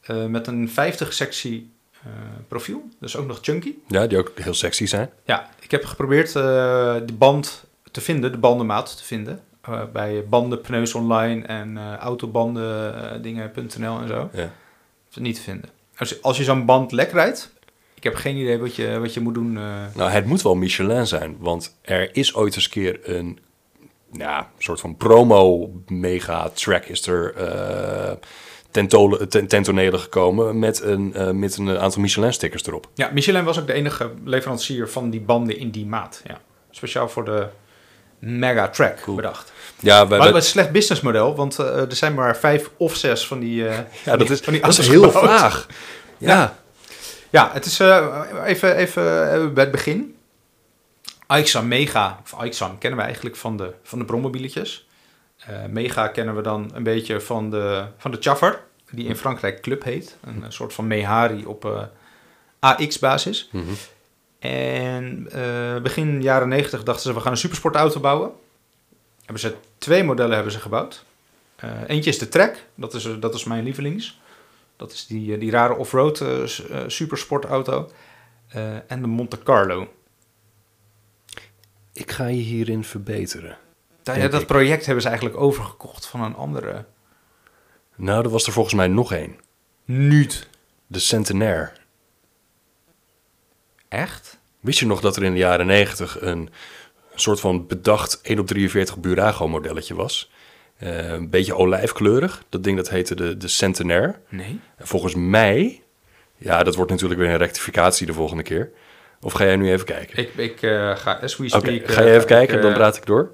[SPEAKER 4] eh, met een 50 sectie eh, profiel. Dus ook nog chunky.
[SPEAKER 1] Ja, die ook heel sexy zijn.
[SPEAKER 4] Ja, ik heb geprobeerd eh, de band te vinden, de bandenmaat te vinden. eh, bij bandenpneus online en eh autobandendingen.nl en zo.
[SPEAKER 1] Ja.
[SPEAKER 4] Is het niet te vinden. Als, als je zo'n band lek rijdt, ik heb geen idee wat je, wat je moet doen. eh.
[SPEAKER 1] Nou, het moet wel Michelin zijn, want er is ooit eens keer een nou, soort van promo-mega-track is er eh, tentole- ten, tentonele gekomen met een, eh, met een aantal Michelin-stickers erop.
[SPEAKER 4] Ja, Michelin was ook de enige leverancier van die banden in die maat. Ja. Speciaal voor de Mega Track bedacht.
[SPEAKER 1] Ja, wij,
[SPEAKER 4] Maar het
[SPEAKER 1] wij-
[SPEAKER 4] was een slecht businessmodel, want eh, er zijn maar vijf of zes van die. eh,
[SPEAKER 1] ja dat
[SPEAKER 4] van die-
[SPEAKER 1] is,
[SPEAKER 4] van die
[SPEAKER 1] dat is
[SPEAKER 4] auto's
[SPEAKER 1] heel
[SPEAKER 4] gebouwd.
[SPEAKER 1] vaag. Ja,
[SPEAKER 4] Ja, het is eh, even, even eh, bij het begin. Aixam Mega, of Aixam kennen we eigenlijk van de, van de brommobieletjes. Eh, Mega kennen we dan een beetje van de, van de Chaffer, die in Frankrijk Club heet. Een, eh, soort van Mehari op eh, AX-basis.
[SPEAKER 1] Mhm.
[SPEAKER 4] En eh, begin jaren 90 dachten ze, we gaan een supersportauto bouwen. Hebben ze twee modellen hebben ze gebouwd. Eh, eentje is de Trek, dat is, dat is mijn lievelings. Dat is die, eh, die rare off-road eh, s- eh, supersportauto. Eh, en de Monte Carlo.
[SPEAKER 1] ik ga je hierin verbeteren.
[SPEAKER 4] Ja,
[SPEAKER 1] Denk
[SPEAKER 4] dat
[SPEAKER 1] ik.
[SPEAKER 4] project hebben ze eigenlijk overgekocht van een andere.
[SPEAKER 1] Nou, er was er volgens mij nog één.
[SPEAKER 4] Niet.
[SPEAKER 1] De Centenaire.
[SPEAKER 4] Echt?
[SPEAKER 1] Wist je nog dat er in de jaren 90 een soort van bedacht 1 op 43 Burago modelletje was? Eh, een beetje olijfkleurig. Dat ding dat heette de, de Centenaire.
[SPEAKER 4] Nee.
[SPEAKER 1] En volgens mij, ja, dat wordt natuurlijk weer een rectificatie de volgende keer. Of ga jij nu even kijken?
[SPEAKER 4] Ik, ik eh, ga as we
[SPEAKER 1] Oké,
[SPEAKER 4] speak... eh,
[SPEAKER 1] ga je even kijken,
[SPEAKER 4] ik,
[SPEAKER 1] dan
[SPEAKER 4] eh,
[SPEAKER 1] praat ik door.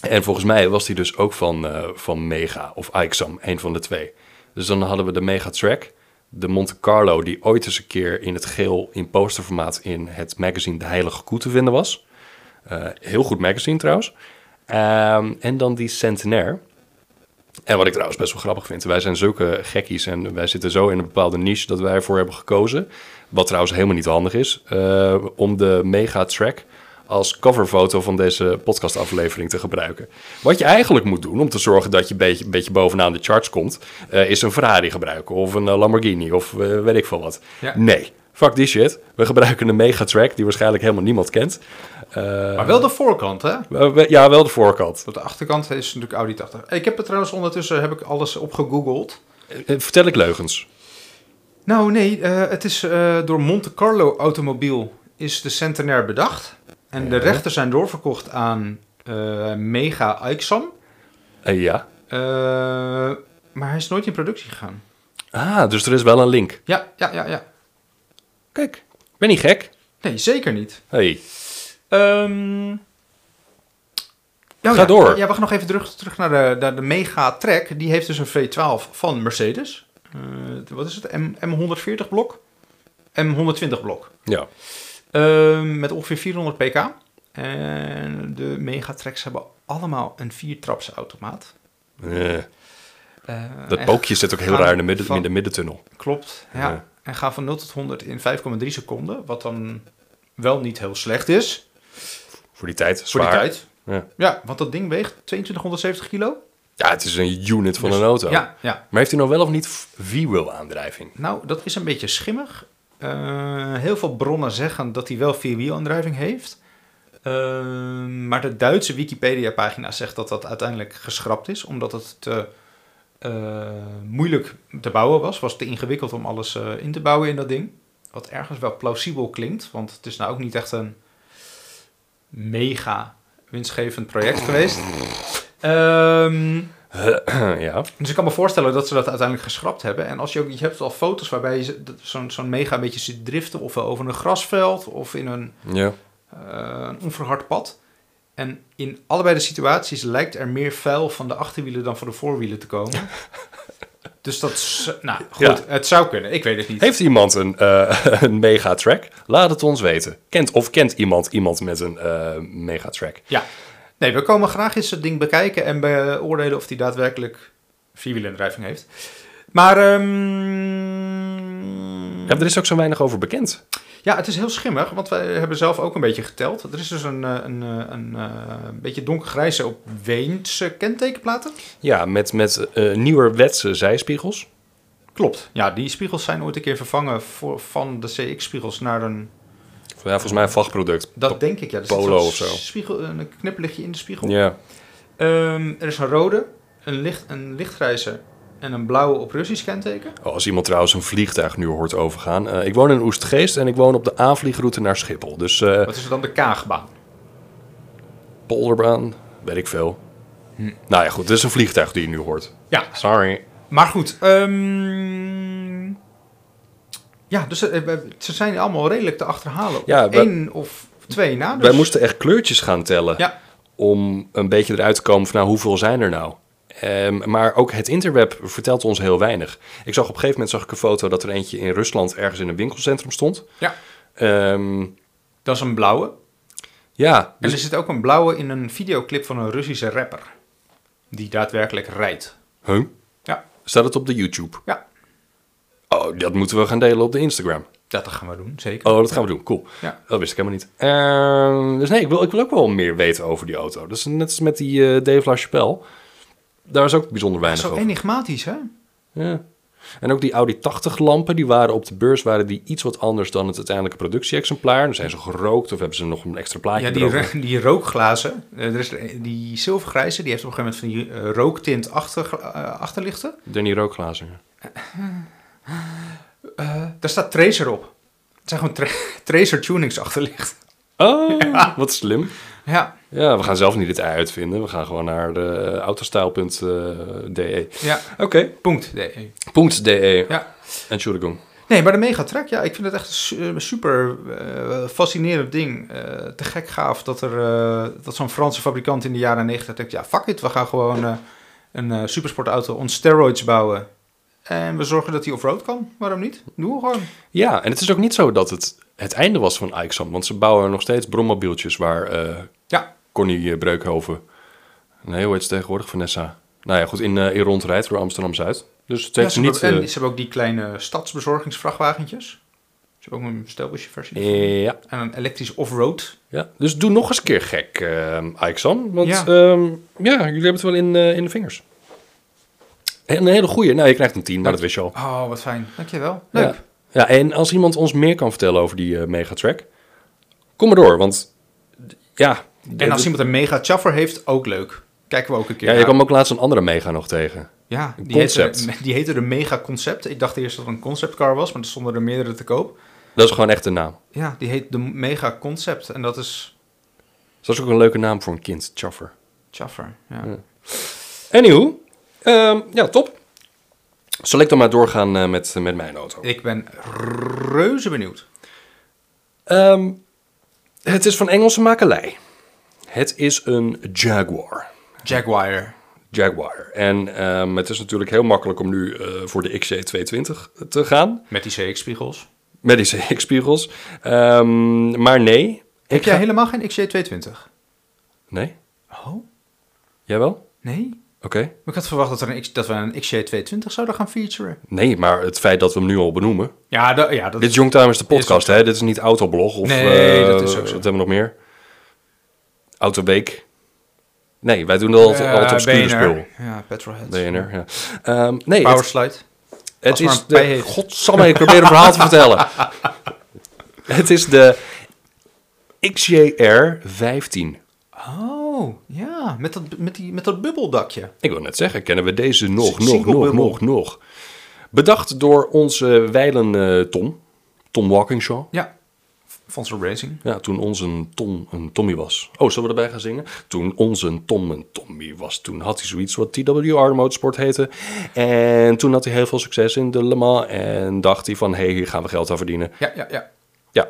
[SPEAKER 1] En volgens mij was die dus ook van, eh, van Mega of Aixam, een van de twee. Dus dan hadden we de Mega Track, de Monte Carlo, die ooit eens een keer in het geel in posterformaat in het magazine De Heilige Koe te vinden was. Eh, heel goed magazine trouwens. Ehm, en dan die Centenaire. En wat ik trouwens best wel grappig vind, wij zijn zulke gekkies en wij zitten zo in een bepaalde niche dat wij ervoor hebben gekozen. Wat trouwens helemaal niet handig is, eh, om de mega track als coverfoto van deze podcastaflevering te gebruiken. Wat je eigenlijk moet doen om te zorgen dat je een beetje, beetje bovenaan de charts komt, eh, is een Ferrari gebruiken of een eh, Lamborghini of eh, weet ik veel wat.
[SPEAKER 4] Ja.
[SPEAKER 1] Nee, fuck die shit. We gebruiken een mega track die waarschijnlijk helemaal niemand kent. Eh,
[SPEAKER 4] Maar wel de voorkant, hè?
[SPEAKER 1] we- we- ja, wel de voorkant.
[SPEAKER 4] Op de achterkant is natuurlijk Audi 80. Ik heb er trouwens ondertussen heb ik alles opgegoogeld.
[SPEAKER 1] Eh, eh, vertel ik leugens.
[SPEAKER 4] Nou nee, eh, het is eh, door Monte Carlo Automobiel is de Centenaire bedacht. En de rechten zijn doorverkocht aan eh, Mega Aixam.
[SPEAKER 1] Eh, ja.
[SPEAKER 4] Eh, maar hij is nooit in productie gegaan.
[SPEAKER 1] Ah, dus er is wel een link.
[SPEAKER 4] Ja, ja, ja, ja.
[SPEAKER 1] Kijk, ik ben niet gek.
[SPEAKER 4] Nee, zeker niet.
[SPEAKER 1] Hey.
[SPEAKER 4] Ehm,
[SPEAKER 1] Ga
[SPEAKER 4] oh ja,
[SPEAKER 1] door.
[SPEAKER 4] Ja, we gaan nog even terug, terug naar, de, naar de Mega Track. Die heeft dus een V12 van Mercedes. Eh, wat is het? M, M140 blok? M120 blok.
[SPEAKER 1] Ja.
[SPEAKER 4] Ehm, met ongeveer 400 pk. En de Megatracks hebben allemaal een viertrapsautomaat.
[SPEAKER 1] Eh,
[SPEAKER 4] automaat.
[SPEAKER 1] dat pookje zit ook heel
[SPEAKER 4] Nou gaan
[SPEAKER 1] raar in de, midden,
[SPEAKER 4] van-
[SPEAKER 1] in de middentunnel.
[SPEAKER 4] Klopt, ja.
[SPEAKER 1] Ja.
[SPEAKER 4] En gaan van 0 tot 100 in 5,3 seconden. Wat dan wel niet heel slecht is.
[SPEAKER 1] Voor die tijd.
[SPEAKER 4] Voor
[SPEAKER 1] Zwaar.
[SPEAKER 4] die tijd.
[SPEAKER 1] Ja.
[SPEAKER 4] Ja, want dat ding weegt 2270 kilo.
[SPEAKER 1] ja, het is een unit van een auto.
[SPEAKER 4] Ja, ja.
[SPEAKER 1] Dus- Maar heeft hij nou wel of niet v- vierwiel aandrijving?
[SPEAKER 4] Nou, dat is een beetje schimmig. Eh, heel veel bronnen zeggen dat hij wel vierwielaandrijving heeft. Ehm, maar de Duitse Wikipedia-pagina zegt dat dat uiteindelijk geschrapt is, omdat het te eh, moeilijk te bouwen was. Was te ingewikkeld om alles eh, in te bouwen in dat ding. Wat ergens wel plausibel klinkt, want het is nou ook niet echt een mega winstgevend project geweest. Ehm,
[SPEAKER 1] <laughs> ja.
[SPEAKER 4] Dus ik kan me voorstellen dat ze dat uiteindelijk geschrapt hebben. En als je ook, je hebt al foto's waarbij je ze- dat- zo'n zo'n mega een beetje ziet driften, of over een grasveld, of in een,
[SPEAKER 1] ja.
[SPEAKER 4] eh, een onverhard pad. En in allebei de situaties lijkt er meer vuil van de achterwielen dan van de voorwielen te komen. dus dat is, nou goed,
[SPEAKER 1] Ja.
[SPEAKER 4] het zou kunnen. Ik weet het niet.
[SPEAKER 1] Heeft iemand een, eh <laughs> een megatrack? Laat het ons weten. Kent of kent iemand iemand met een eh megatrack?
[SPEAKER 4] Ja. Nee, we komen graag eens het ding bekijken en beoordelen of die daadwerkelijk vierwielendrijving heeft. Maar ehm,
[SPEAKER 1] Ja, er is ook zo weinig over bekend.
[SPEAKER 4] ja, het is heel schimmig, want wij hebben zelf ook een beetje geteld. Er is dus een, eh, een, eh, een, eh, beetje donkergrijze op Weense kentekenplaten.
[SPEAKER 1] Ja, met, met eh nieuwerwetse zijspiegels.
[SPEAKER 4] Klopt. Ja, die spiegels zijn ooit een keer vervangen voor, van de CX-spiegels naar een...
[SPEAKER 1] Ja, volgens mij een vachtproduct.
[SPEAKER 4] Dat denk ik, ja. Er zit
[SPEAKER 1] Polo
[SPEAKER 4] zo'n
[SPEAKER 1] of zo.
[SPEAKER 4] Spiegel, een knipperlichtje in de spiegel.
[SPEAKER 1] Ja.
[SPEAKER 4] Ehm, er is een rode, een, licht, een lichtgrijze en een blauwe op Russisch kenteken.
[SPEAKER 1] Oh, Als iemand trouwens een vliegtuig nu hoort overgaan. Eh, ik woon in Oestgeest en ik woon op de aanvliegroute naar Schiphol. Dus eh
[SPEAKER 4] Wat is er dan de Kaagbaan?
[SPEAKER 1] Polderbaan, weet ik veel.
[SPEAKER 4] Hm.
[SPEAKER 1] Nou ja, goed. Dit is een vliegtuig die je nu hoort.
[SPEAKER 4] Ja,
[SPEAKER 1] Sorry.
[SPEAKER 4] maar goed. ehm, ja, dus eh, we- ze zijn allemaal redelijk te achterhalen.
[SPEAKER 1] Ja, we-
[SPEAKER 4] Eén of twee na. dus-
[SPEAKER 1] Wij moesten echt kleurtjes gaan tellen.
[SPEAKER 4] Ja.
[SPEAKER 1] Om een beetje eruit te komen van nou, hoeveel zijn er nou? Ehm, maar ook het interweb vertelt ons heel weinig. Ik zag op een gegeven moment zag ik een foto dat er eentje in Rusland ergens in een winkelcentrum stond.
[SPEAKER 4] Ja,
[SPEAKER 1] Ehm,
[SPEAKER 4] dat is een blauwe.
[SPEAKER 1] ja, dus-
[SPEAKER 4] En er zit ook een blauwe in een videoclip van een Russische rapper. Die daadwerkelijk rijdt.
[SPEAKER 1] Huh?
[SPEAKER 4] Ja,
[SPEAKER 1] Staat het op de YouTube?
[SPEAKER 4] ja.
[SPEAKER 1] Oh, dat moeten we gaan delen op de Instagram.
[SPEAKER 4] Dat gaan we doen, zeker.
[SPEAKER 1] Oh, dat gaan we doen. Cool.
[SPEAKER 4] Ja.
[SPEAKER 1] Dat wist ik helemaal niet. Ehm, dus nee, ik wil, ik wil ook wel meer weten over die auto. Dat is net als met die eh, Dave LaChapelle. Daar is ook bijzonder weinig
[SPEAKER 4] Zo
[SPEAKER 1] over.
[SPEAKER 4] enigmatisch, hè?
[SPEAKER 1] Ja. En ook die Audi 80 lampen, die waren op de beurs waren die iets wat anders dan het uiteindelijke productie-exemplaar. Dan zijn ze gerookt of hebben ze nog een extra plaatje
[SPEAKER 4] Ja, die,
[SPEAKER 1] erover.
[SPEAKER 4] ro- die rookglazen. eh, Er is er- die zilvergrijze, die heeft op een gegeven moment van die eh, rooktint achter, eh, achterlichten.
[SPEAKER 1] Dan die rookglazen.
[SPEAKER 4] <laughs>
[SPEAKER 1] ja.
[SPEAKER 4] Eh, daar staat Tracer op. Het zijn gewoon tra- <laughs> Tracer tunings achterlicht.
[SPEAKER 1] Oh, wat slim.
[SPEAKER 4] Ja,
[SPEAKER 1] Ja, we gaan zelf niet dit uitvinden. We gaan gewoon naar de eh, autostyle.de.
[SPEAKER 4] ja.
[SPEAKER 1] Oké.
[SPEAKER 4] Punt. Nee.
[SPEAKER 1] Punt .de.
[SPEAKER 4] Ja.
[SPEAKER 1] Entschuldigung.
[SPEAKER 4] Nee, maar de megatrack, ja, ik vind het echt een su- super eh, fascinerend ding. Eh, te gek gaaf dat, er, eh, dat zo'n Franse fabrikant in de jaren 90 denkt... ja, fuck it, we gaan gewoon eh, een eh, supersportauto on steroids bouwen. En we zorgen dat die off-road kan. Waarom niet? Doe gewoon.
[SPEAKER 1] Ja, en het is ook niet zo dat het het einde was van Ixom. Want ze bouwen nog steeds brommobieltjes waar eh,
[SPEAKER 4] Ja,
[SPEAKER 1] Connie eh, Breukhoven. Nee, hoe heet ze tegenwoordig? Vanessa. Nou ja, goed, in, eh in rondrijdt door Amsterdam-Zuid. Dus het
[SPEAKER 4] ja,
[SPEAKER 1] heeft
[SPEAKER 4] ze,
[SPEAKER 1] ze niet...
[SPEAKER 4] hebben, en
[SPEAKER 1] eh,
[SPEAKER 4] ze hebben ook die kleine stadsbezorgingsvrachtwagentjes. Ze hebben ook een stelbusje versie.
[SPEAKER 1] eh, ja,
[SPEAKER 4] En een elektrisch off-road.
[SPEAKER 1] ja, dus doe nog eens een keer gek, Ixom. Want
[SPEAKER 4] Ja.
[SPEAKER 1] ja. ja, jullie hebben het wel in, eh, in de vingers. En een hele goeie. Nou, je krijgt een 10, maar dat wist je al.
[SPEAKER 4] Oh, wat fijn. Dankjewel. Leuk.
[SPEAKER 1] Ja. ja, en als iemand ons meer kan vertellen over die eh, megatrack... Kom maar door, want... d- Ja,
[SPEAKER 4] En als
[SPEAKER 1] d-
[SPEAKER 4] iemand een mega chaffer heeft, ook leuk. Kijken we ook een keer
[SPEAKER 1] ja, je
[SPEAKER 4] naar.
[SPEAKER 1] kwam ook laatst een andere mega nog tegen.
[SPEAKER 4] Ja,
[SPEAKER 1] Een
[SPEAKER 4] die heette,
[SPEAKER 1] concept.
[SPEAKER 4] <laughs> die heette de Mega Concept. Ik dacht eerst dat het een conceptcar was, maar er stonden er meerdere te koop.
[SPEAKER 1] Dat is gewoon echt een naam.
[SPEAKER 4] Ja, die heet de Mega Concept en dat is
[SPEAKER 1] Dat is ook een leuke naam voor een kind, Chaffer.
[SPEAKER 4] Chaffer. Ja.
[SPEAKER 1] Anywho, ehm, ja, top. Zal ik dan maar doorgaan eh, met, met mijn auto?
[SPEAKER 4] Ik ben reuze benieuwd.
[SPEAKER 1] Ehm, het is van Engelse makelij. Het is een Jaguar.
[SPEAKER 4] Jaguar.
[SPEAKER 1] Jaguar. En ehm, het is natuurlijk heel makkelijk om nu eh, voor de XC220 te gaan.
[SPEAKER 4] Met die CX-spiegels.
[SPEAKER 1] Met die CX-spiegels. Ehm, maar nee.
[SPEAKER 4] Heb
[SPEAKER 1] Ik
[SPEAKER 4] jij
[SPEAKER 1] ga-
[SPEAKER 4] helemaal geen XJ220?
[SPEAKER 1] Nee?
[SPEAKER 4] Oh,
[SPEAKER 1] Jij wel? Oké.
[SPEAKER 4] nee. Maar Ik had verwacht dat, er een X, dat we een XJ220 zouden gaan featuren.
[SPEAKER 1] Nee, maar het feit dat we hem nu al benoemen.
[SPEAKER 4] Ja, da- ja dat
[SPEAKER 1] Dit is Youngtimers de
[SPEAKER 4] Is ook
[SPEAKER 1] podcast,
[SPEAKER 4] zo.
[SPEAKER 1] hè? Dit is niet Autoblog of...
[SPEAKER 4] Nee,
[SPEAKER 1] eh,
[SPEAKER 4] dat is ook zo.
[SPEAKER 1] Wat hebben we nog meer? Autoweek. Nee, wij doen dat
[SPEAKER 4] Eh,
[SPEAKER 1] altijd, altijd obscure spul.
[SPEAKER 4] Ja, Petrolhead.
[SPEAKER 1] BNR, ja. Ehm, nee, het,
[SPEAKER 4] Powerslide.
[SPEAKER 1] het
[SPEAKER 4] als maar
[SPEAKER 1] is
[SPEAKER 4] een bij
[SPEAKER 1] de...
[SPEAKER 4] heeft.
[SPEAKER 1] Godsamme, ik probeer een verhaal te
[SPEAKER 4] <laughs>
[SPEAKER 1] vertellen. Het is de XJR 15.
[SPEAKER 4] Oh, ja. Met dat, met, die, met dat bubbeldakje.
[SPEAKER 1] Ik wil net zeggen, kennen we deze nog,
[SPEAKER 4] Sing-
[SPEAKER 1] nog,
[SPEAKER 4] single
[SPEAKER 1] nog,
[SPEAKER 4] bubble.
[SPEAKER 1] nog, nog. Bedacht door onze wijlen eh, Tom. Tom Walkingshaw.
[SPEAKER 4] Ja. Van zijn Racing.
[SPEAKER 1] Ja, toen ons een Tom een Tommy was. Oh, zullen we erbij gaan zingen? Toen ons een Tom een Tommy was. Toen had hij zoiets wat TWR Motorsport heette. En toen had hij heel veel succes in de Le Mans. En dacht hij van, hé, hey, hier gaan we geld aan verdienen.
[SPEAKER 4] Ja, ja, ja.
[SPEAKER 1] Ja.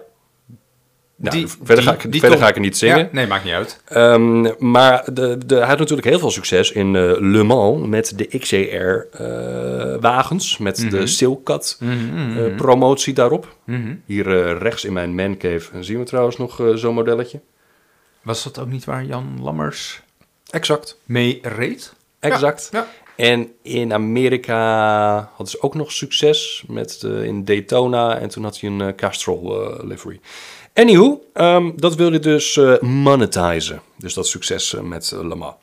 [SPEAKER 1] Nou,
[SPEAKER 4] Die-
[SPEAKER 1] verder
[SPEAKER 4] die-
[SPEAKER 1] ga, ik,
[SPEAKER 4] die
[SPEAKER 1] verder
[SPEAKER 4] Tom-
[SPEAKER 1] ga ik er niet zingen.
[SPEAKER 4] Ja, nee, maakt niet uit.
[SPEAKER 1] Ehm, maar de, de, hij had natuurlijk heel veel succes in eh, Le Mans met de XCR-wagens. eh, met
[SPEAKER 4] Mhm.
[SPEAKER 1] de Silcat-promotie daarop. Hier eh, rechts in mijn mancave zien we trouwens nog eh, zo'n modelletje.
[SPEAKER 4] Was dat ook niet waar Jan Lammers
[SPEAKER 1] Exact.
[SPEAKER 4] mee reed?
[SPEAKER 1] Exact.
[SPEAKER 4] Ja,
[SPEAKER 1] En in Amerika hadden ze ook nog succes met de, in Daytona. En toen had hij een eh, Castrol eh, livery. Anywho, ehm, dat wilde dus eh monetizen. Dus dat succes eh, met eh, Le Mans.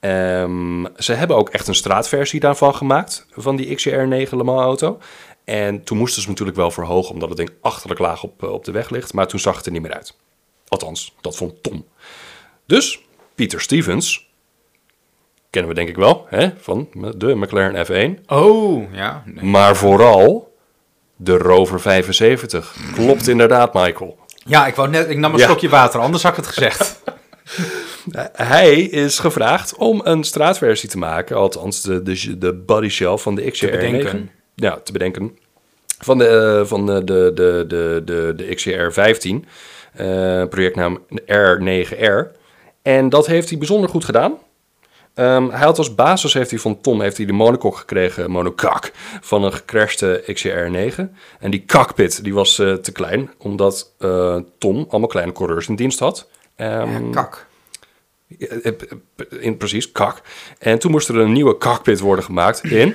[SPEAKER 1] Ehm, ze hebben ook echt een straatversie daarvan gemaakt. Van die XJR9 Le Mans auto. En toen moesten ze hem natuurlijk wel verhogen. Omdat het ding achterlijk laag op, eh, op de weg ligt. Maar toen zag het er niet meer uit. Althans, dat vond Tom. Dus Pieter Stevens, kennen we denk ik wel, hè, van de McLaren F1.
[SPEAKER 4] Oh, ja. nee.
[SPEAKER 1] Maar vooral de Rover 75. Klopt inderdaad, Michael.
[SPEAKER 4] Ja, ik, wou net, ik nam een
[SPEAKER 1] Ja.
[SPEAKER 4] slokje water, anders had ik
[SPEAKER 1] <laughs>
[SPEAKER 4] het gezegd.
[SPEAKER 1] Hij is gevraagd om een straatversie te maken, althans de, de, de body shell van de XJR9.
[SPEAKER 4] bedenken.
[SPEAKER 1] Ja, te bedenken. Van de, eh, van de, de, de, de, de, de XJR15, eh, projectnaam R9R. En dat heeft hij bijzonder goed gedaan. Ehm, hij had als basis heeft hij van Tom heeft hij de monokok gekregen, monokak, van een gecrashte XCR9. En die cockpit die was eh, te klein, omdat eh, Tom allemaal kleine coureurs in dienst had. Ehm,
[SPEAKER 4] Kak.
[SPEAKER 1] eh, eh, eh, In, precies, kak. En toen moest er een nieuwe cockpit worden gemaakt in <clears throat>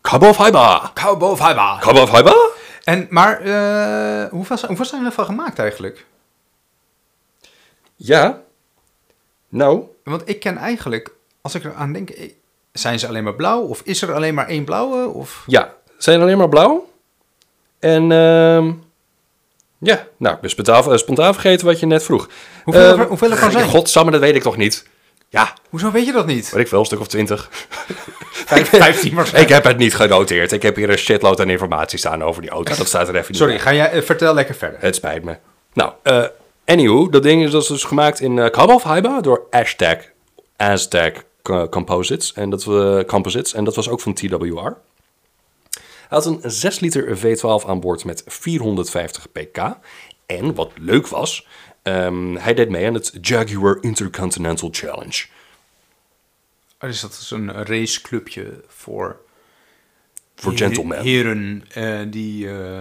[SPEAKER 1] Cabo Fiber.
[SPEAKER 4] Cowboy Fiber.
[SPEAKER 1] Cabo Fiber?
[SPEAKER 4] En, maar eh, hoeveel, zijn- hoeveel zijn er van gemaakt eigenlijk?
[SPEAKER 1] Ja. Nou,
[SPEAKER 4] Want ik ken eigenlijk, als ik eraan denk, ik- zijn ze alleen maar blauw? Of is er alleen maar één blauwe? Of...
[SPEAKER 1] ja. Zijn alleen maar blauw. En ehm, ja, nou, dus spontaan, eh, spontaan vergeten wat je net vroeg.
[SPEAKER 4] Hoeveel
[SPEAKER 1] Ehm,
[SPEAKER 4] er- hoeveel er van zijn?
[SPEAKER 1] Godsamme, dat weet ik toch niet. Ja,
[SPEAKER 4] Hoezo weet je dat niet?
[SPEAKER 1] weet ik wel, een stuk of twintig.
[SPEAKER 4] <laughs> Vijf-
[SPEAKER 1] <laughs>
[SPEAKER 4] Vijftien
[SPEAKER 1] Ik
[SPEAKER 4] waarschijnlijk.
[SPEAKER 1] heb het niet genoteerd. Ik heb hier een shitload aan informatie staan over die auto. Dat staat er even niet
[SPEAKER 4] Sorry,
[SPEAKER 1] bij.
[SPEAKER 4] ga jij, eh, vertel lekker verder.
[SPEAKER 1] Het spijt me. Nou, eh anywho, dat ding is dus, dus gemaakt in eh Cabo Fiber door Aztec, Aztec Co- Composites. En dat, we Composites. En dat was ook van TWR. Hij had een 6 liter V12 aan boord met 450 pk. En wat leuk was, ehm, hij deed mee aan het Jaguar Intercontinental Challenge.
[SPEAKER 4] Oh, Dus dat is een raceclubje voor...
[SPEAKER 1] Voor gentlemen.
[SPEAKER 4] Heren eh, die eh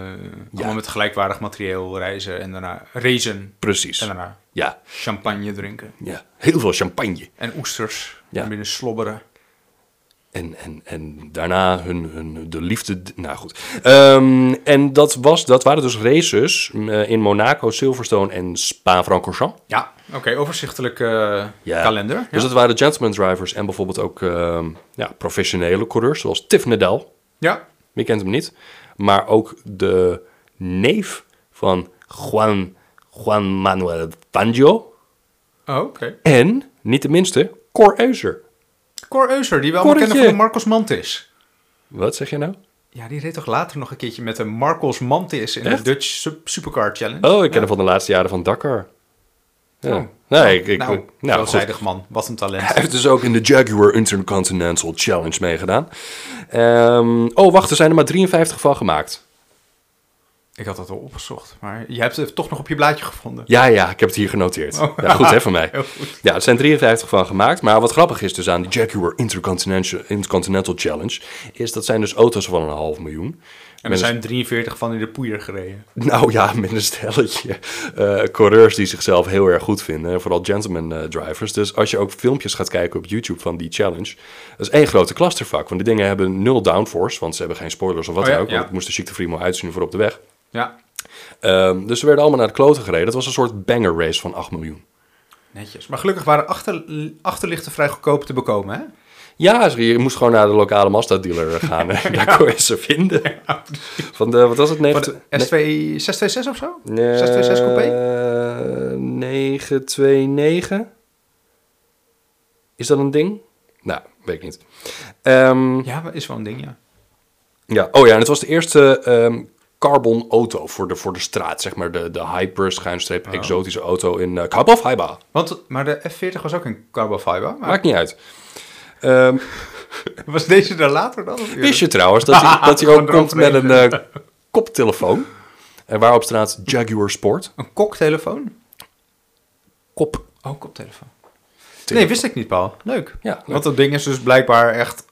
[SPEAKER 4] allemaal met gelijkwaardig materieel reizen en daarna racen.
[SPEAKER 1] Precies.
[SPEAKER 4] En daarna
[SPEAKER 1] Ja,
[SPEAKER 4] champagne drinken.
[SPEAKER 1] ja, heel veel champagne.
[SPEAKER 4] En oesters.
[SPEAKER 1] Ja.
[SPEAKER 4] En binnen slobberen.
[SPEAKER 1] En, en, en daarna hun, hun, de liefde. Nou goed. Ehm, en dat, was, dat waren dus races eh, in Monaco, Silverstone en Spa-Francorchamps.
[SPEAKER 4] Ja, oké, overzichtelijk eh, kalender. Ja.
[SPEAKER 1] Dus dat waren gentleman drivers en bijvoorbeeld ook ehm, ja, professionele coureurs, zoals Tiff Nadal.
[SPEAKER 4] ja.
[SPEAKER 1] Wie kent hem niet? Maar ook de neef van Juan, Juan Manuel Fangio.
[SPEAKER 4] Oh, oké.
[SPEAKER 1] En, niet de minste, Cor Euser.
[SPEAKER 4] Cor Euser, die we allemaal kennen
[SPEAKER 1] Corretje.
[SPEAKER 4] van de Marcos Mantis.
[SPEAKER 1] Wat zeg je nou?
[SPEAKER 4] Ja, die reed toch later nog een keertje met de Marcos Mantis in
[SPEAKER 1] Echt?
[SPEAKER 4] de Dutch Sup- Supercar Challenge.
[SPEAKER 1] Oh, ik ken hem van de laatste jaren van Dakar. Ja.
[SPEAKER 4] Oh.
[SPEAKER 1] Nee, ik, ik,
[SPEAKER 4] nou,
[SPEAKER 1] nou, nou goed.
[SPEAKER 4] veelzijdig man. Wat een talent.
[SPEAKER 1] Hij heeft dus ook in de Jaguar Intercontinental Challenge meegedaan. Ehm, oh, wacht, er zijn er maar 53 van gemaakt.
[SPEAKER 4] Ik had dat al opgezocht, maar je hebt het toch nog op je blaadje gevonden.
[SPEAKER 1] Ja, ja, ik heb het hier genoteerd. Ja, goed hè, van <laughs> mij.
[SPEAKER 4] Heel goed.
[SPEAKER 1] Ja, er zijn 53 van gemaakt. Maar wat grappig is dus aan die Jaguar Intercontinental, Intercontinental Challenge... is dat zijn dus auto's van een half miljoen.
[SPEAKER 4] En er zijn 43 van in de poeier gereden.
[SPEAKER 1] Nou ja, met een stelletje eh, coureurs die zichzelf heel erg goed vinden. Vooral gentleman eh, drivers. Dus als je ook filmpjes gaat kijken op YouTube van die challenge. Dat is één grote clusterfuck. Want die dingen hebben nul downforce. Want ze hebben geen spoilers of wat
[SPEAKER 4] Oh ja,
[SPEAKER 1] dan ook. Want
[SPEAKER 4] ja.
[SPEAKER 1] het moest er ziekte prima uitzien voor op de weg.
[SPEAKER 4] Ja,
[SPEAKER 1] Ehm, dus ze werden allemaal naar de kloten gereden. Dat was een soort banger race van 8 miljoen.
[SPEAKER 4] netjes. Maar gelukkig waren achter, achterlichten vrij goedkoop te bekomen, hè?
[SPEAKER 1] Ja, ze- je moest gewoon naar de lokale Mazda dealer gaan.
[SPEAKER 4] <laughs>
[SPEAKER 1] en Daar kon je ze vinden. Van de, wat was het?
[SPEAKER 4] Van
[SPEAKER 1] 90,
[SPEAKER 4] de S2, 626 of zo?
[SPEAKER 1] Nee,
[SPEAKER 4] 626 coupé?
[SPEAKER 1] Eh, 929. Is dat een ding? Nou, weet ik niet. Ehm, ja.
[SPEAKER 4] Ja, is wel een ding, ja.
[SPEAKER 1] Oh ja, en het was de eerste ehm, carbon auto voor de, voor de straat. Zeg maar de, de hyper schuinstreep exotische auto in eh Cabo Faiba.
[SPEAKER 4] Want, maar de F40 was ook een carbon fiber. Maar
[SPEAKER 1] Maakt niet uit. Ehm,
[SPEAKER 4] was deze daar later dan? of
[SPEAKER 1] wist
[SPEAKER 4] eerder?
[SPEAKER 1] je trouwens <laughs> dat hij, dat hij ook
[SPEAKER 4] Gewoon
[SPEAKER 1] komt met
[SPEAKER 4] erop
[SPEAKER 1] een eh, koptelefoon? En waarop staat Jaguar Sport.
[SPEAKER 4] Een koktelefoon?
[SPEAKER 1] Kop.
[SPEAKER 4] Oh, koptelefoon. Nee, wist ik niet, Paul. Leuk.
[SPEAKER 1] Ja, leuk.
[SPEAKER 4] Want dat ding is dus blijkbaar echt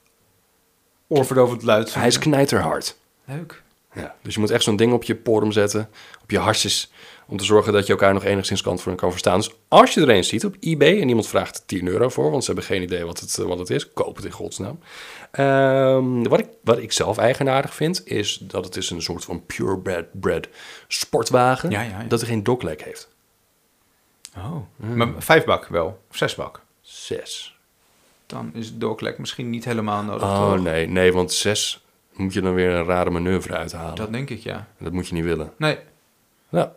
[SPEAKER 4] oorverdovend luid.
[SPEAKER 1] Hij is knijterhard.
[SPEAKER 4] Leuk.
[SPEAKER 1] Ja, dus je moet echt zo'n ding op je porum zetten, op je hartjes, om te zorgen dat je elkaar nog enigszins kan, voor- kan verstaan. Dus als je er eens ziet op eBay en iemand vraagt 10 euro voor, want ze hebben geen idee wat het, eh, wat het is, koop het in godsnaam. Ehm, wat, ik, wat ik zelf eigenaardig vind, is dat het is een soort van purebred bred sportwagen,
[SPEAKER 4] Ja, ja, ja.
[SPEAKER 1] dat er geen doklek heeft.
[SPEAKER 4] Oh.
[SPEAKER 1] Mm.
[SPEAKER 4] Maar vijf bak wel. Of zes bak.
[SPEAKER 1] Zes.
[SPEAKER 4] Dan is het doorklek misschien niet helemaal nodig.
[SPEAKER 1] Oh
[SPEAKER 4] toch?
[SPEAKER 1] nee, nee, want zes moet je dan weer een rare manoeuvre uithalen. Dat,
[SPEAKER 4] Dat denk ik, ja.
[SPEAKER 1] moet je niet willen.
[SPEAKER 4] Nee.
[SPEAKER 1] Nou,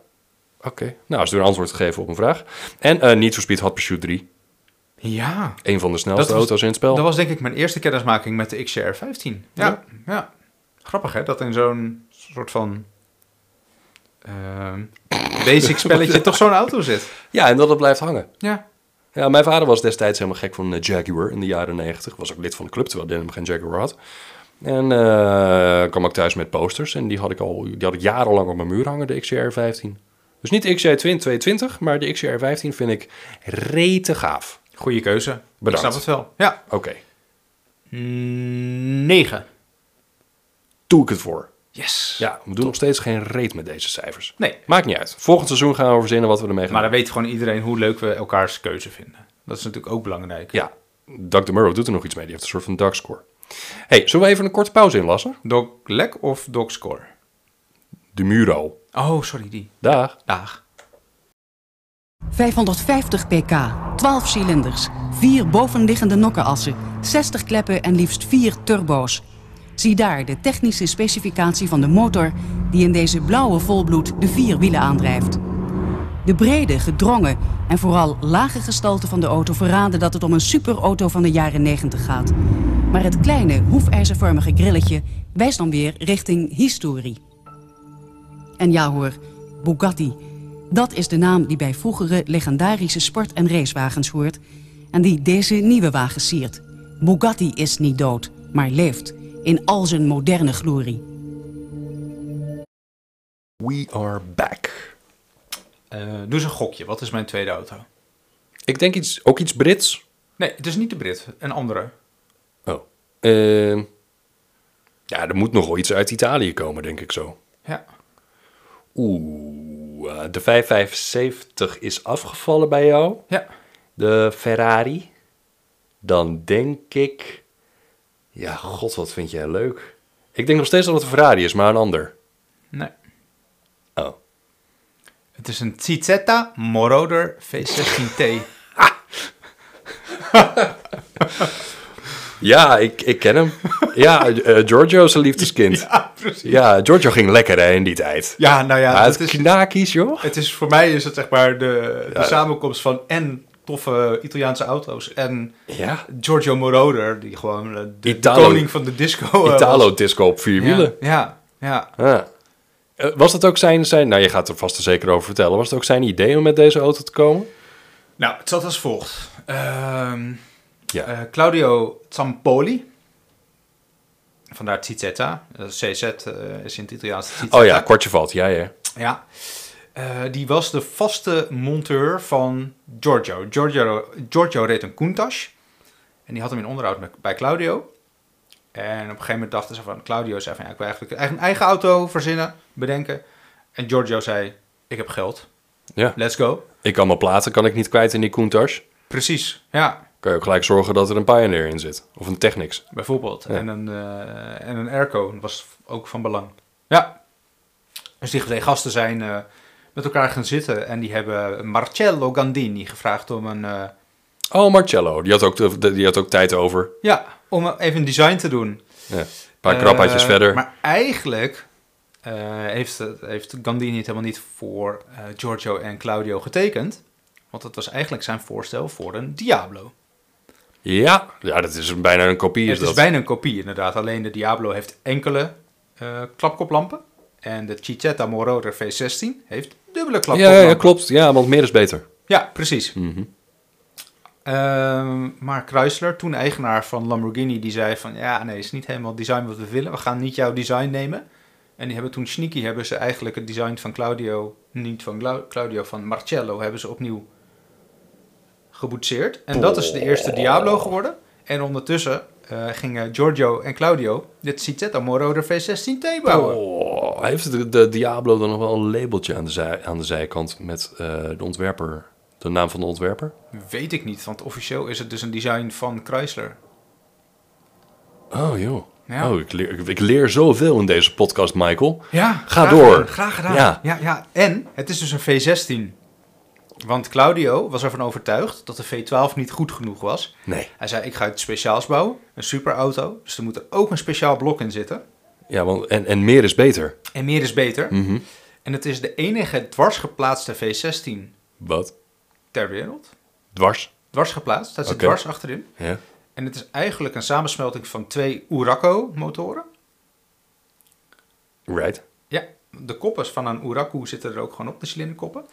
[SPEAKER 1] oké. Nou, is er een antwoord gegeven op een vraag. En eh Need for Speed Hot Pursuit 3.
[SPEAKER 4] Ja.
[SPEAKER 1] Een van de snelste
[SPEAKER 4] was-
[SPEAKER 1] auto's in het spel.
[SPEAKER 4] Dat was denk ik mijn eerste kennismaking met de XCR 15. Ja. ja. Grappig, hè? Dat in zo'n soort van...
[SPEAKER 1] <laughs>
[SPEAKER 4] ehm, basic spelletje toch zo'n auto zit.
[SPEAKER 1] Ja, en dat het blijft hangen.
[SPEAKER 4] Ja.
[SPEAKER 1] Ja, mijn vader was destijds helemaal gek van eh, Jaguar in de jaren 90. Was ook lid van de club, terwijl Denim geen Jaguar had. En eh, kwam ook thuis met posters. En die had ik al die had ik jarenlang op mijn muur hangen, de XCR15. Dus niet de XCR22, maar de XCR15 vind ik rete gaaf.
[SPEAKER 4] Goeie keuze.
[SPEAKER 1] Bedankt.
[SPEAKER 4] Ik snap het wel. Ja.
[SPEAKER 1] Oké,
[SPEAKER 4] Negen.
[SPEAKER 1] doe ik het voor.
[SPEAKER 4] Yes.
[SPEAKER 1] Ja, we doen nog steeds geen reet met deze cijfers.
[SPEAKER 4] Nee.
[SPEAKER 1] Maakt niet uit. Volgend seizoen gaan we verzinnen wat we ermee gaan
[SPEAKER 4] Maar dan
[SPEAKER 1] doen.
[SPEAKER 4] weet gewoon iedereen hoe leuk we elkaars keuze vinden. Dat is natuurlijk ook belangrijk.
[SPEAKER 1] Ja, Doug DeMuro doet er nog iets mee. Die heeft een soort van Doug score. hey, zullen we even een korte pauze inlassen?
[SPEAKER 4] Doc Lek of Doc Score?
[SPEAKER 1] De Muro.
[SPEAKER 4] Oh, sorry, die.
[SPEAKER 1] Dag.
[SPEAKER 4] Dag.
[SPEAKER 6] 550 pk, 12 cilinders, 4 bovenliggende nokkenassen, 60 kleppen en liefst 4 turbo's. Zie daar de technische specificatie van de motor die in deze blauwe volbloed de vier wielen aandrijft. De brede, gedrongen en vooral lage gestalte van de auto verraden dat het om een superauto van de jaren 90 gaat. Maar het kleine, hoefijzervormige grilletje wijst dan weer richting historie. En ja hoor, Bugatti. Dat is de naam die bij vroegere legendarische sport- en racewagens hoort... en die deze nieuwe wagen siert. Bugatti is niet dood, maar leeft in al zijn moderne glorie.
[SPEAKER 1] We are back.
[SPEAKER 4] Eh, doe eens een gokje. Wat is mijn tweede auto?
[SPEAKER 1] Ik denk iets, ook iets Brits.
[SPEAKER 4] Nee, het is niet de Brit. Een andere.
[SPEAKER 1] Oh. Ehm, ja, er moet nog wel iets uit Italië komen, denk ik zo.
[SPEAKER 4] Ja.
[SPEAKER 1] Oeh, eh, de 575 is afgevallen bij jou.
[SPEAKER 4] Ja.
[SPEAKER 1] De Ferrari. Dan denk ik... Ja, god, wat vind jij leuk. Ik denk nog steeds dat het een Ferrari is, maar een ander.
[SPEAKER 4] Nee.
[SPEAKER 1] Oh.
[SPEAKER 4] Het is een Tizetta Moroder <laughs> V16T.
[SPEAKER 1] Ja, ik, ik ken <laughs> hem. ja, eh, Giorgio is een liefdeskind. Ja,
[SPEAKER 4] precies.
[SPEAKER 1] Giorgio ging lekker hè, in die tijd.
[SPEAKER 4] Ja, nou ja.
[SPEAKER 1] Maar het
[SPEAKER 4] Het
[SPEAKER 1] is
[SPEAKER 4] is,
[SPEAKER 1] knakies, joh.
[SPEAKER 4] het is, voor mij is het zeg maar de, de samenkomst van en toffe Italiaanse auto's en
[SPEAKER 1] Ja.
[SPEAKER 4] Giorgio Moroder, die gewoon eh, de, de
[SPEAKER 1] Italo-
[SPEAKER 4] koning van de disco eh, was.
[SPEAKER 1] Italo-disco op vier wielen.
[SPEAKER 4] Ja, ja, ja.
[SPEAKER 1] Ja. Eh, Was dat ook zijn, zijn... Nou, je gaat er vast en zeker over vertellen. Was het ook zijn idee om met deze auto te komen?
[SPEAKER 4] Nou, het zat als volgt. Ehm,
[SPEAKER 1] Ja.
[SPEAKER 4] eh, Claudio Zampoli. Vandaar Tizetta. Eh, CZ eh, is in het Italiaans Tizetta.
[SPEAKER 1] oh ja, kwartje valt. Ja, ja.
[SPEAKER 4] Ja. Eh, die was de vaste monteur van Giorgio. Giorgio, Giorgio reed een Countach. En die had hem in onderhoud met- bij Claudio. En op een gegeven moment dachten ze van... Claudio zei van... Ja, ik wil eigenlijk een eigen, eigen auto verzinnen, bedenken. En Giorgio zei... Ik heb geld.
[SPEAKER 1] ja.
[SPEAKER 4] Let's go.
[SPEAKER 1] Ik kan mijn platen kan ik niet kwijt in die Countach.
[SPEAKER 4] Precies. Ja.
[SPEAKER 1] Kan je ook gelijk zorgen dat er een Pioneer in zit. Of een Technics.
[SPEAKER 4] Bijvoorbeeld. En, een, eh, en een airco was ook van belang. Ja. Dus die twee gasten zijn eh, met elkaar gaan zitten. En die hebben Marcello Gandini gevraagd om een... eh,
[SPEAKER 1] Oh, Marcello. Die had ook, de- de- die had ook tijd over.
[SPEAKER 4] ja, om even een design te doen.
[SPEAKER 1] Ja. Een paar krabbeitjes
[SPEAKER 4] Eh,
[SPEAKER 1] verder.
[SPEAKER 4] Maar eigenlijk eh, heeft, het- heeft Gandini het helemaal niet voor eh, Giorgio en Claudio getekend. Want het was eigenlijk zijn voorstel voor een Diablo.
[SPEAKER 1] Ja. Ja, dat is een- bijna een kopie. Is
[SPEAKER 4] het
[SPEAKER 1] dat.
[SPEAKER 4] is bijna een kopie inderdaad. Alleen de Diablo heeft enkele eh, klapkoplampen. En de Chichetta Moroder V16 heeft dubbele
[SPEAKER 1] Ja,
[SPEAKER 4] klapkoplampen.
[SPEAKER 1] ja, klopt. Ja, want meer is beter.
[SPEAKER 4] Ja, precies. Ehm, maar Chrysler, toen eigenaar van Lamborghini, die zei van... Ja, nee, is niet helemaal het design wat we willen. We gaan niet jouw design nemen. En die hebben toen sneaky, hebben ze eigenlijk het design van Claudio... Niet van Glau- Claudio, van Marcello hebben ze opnieuw geboetseerd. En dat is de eerste Diablo geworden. En ondertussen eh, gingen Giorgio en Claudio dit Citetta Moroder V16 T bouwen.
[SPEAKER 1] Oh, heeft de, de Diablo dan nog wel een labeltje aan de, zij, aan de zijkant met eh, de ontwerper, de naam van de ontwerper?
[SPEAKER 4] Weet ik niet, want officieel is het dus een design van Chrysler.
[SPEAKER 1] Oh joh.
[SPEAKER 4] Ja.
[SPEAKER 1] Oh, ik leer, ik, ik leer zoveel in deze podcast, Michael.
[SPEAKER 4] Ja,
[SPEAKER 1] Ga
[SPEAKER 4] graag
[SPEAKER 1] door.
[SPEAKER 4] gedaan, graag gedaan.
[SPEAKER 1] Ja.
[SPEAKER 4] Ja. Ja, En het is dus een V16. Want Claudio was ervan overtuigd dat de V12 niet goed genoeg was.
[SPEAKER 1] Nee.
[SPEAKER 4] Hij zei, ik ga iets speciaals bouwen, een superauto. Dus er moet er ook een speciaal blok in zitten.
[SPEAKER 1] Ja, want, en, en meer is beter.
[SPEAKER 4] En meer is beter.
[SPEAKER 1] Mhm.
[SPEAKER 4] En het is de enige dwarsgeplaatste V16
[SPEAKER 1] Wat?
[SPEAKER 4] ter wereld.
[SPEAKER 1] Dwars?
[SPEAKER 4] Dwarsgeplaatst, staat ze
[SPEAKER 1] Oké.
[SPEAKER 4] dwars achterin.
[SPEAKER 1] Ja.
[SPEAKER 4] En het is eigenlijk een samensmelting van twee Uraco-motoren.
[SPEAKER 1] Right.
[SPEAKER 4] Ja, de koppen van een Uraku zitten er ook gewoon op, de cilinderkoppen.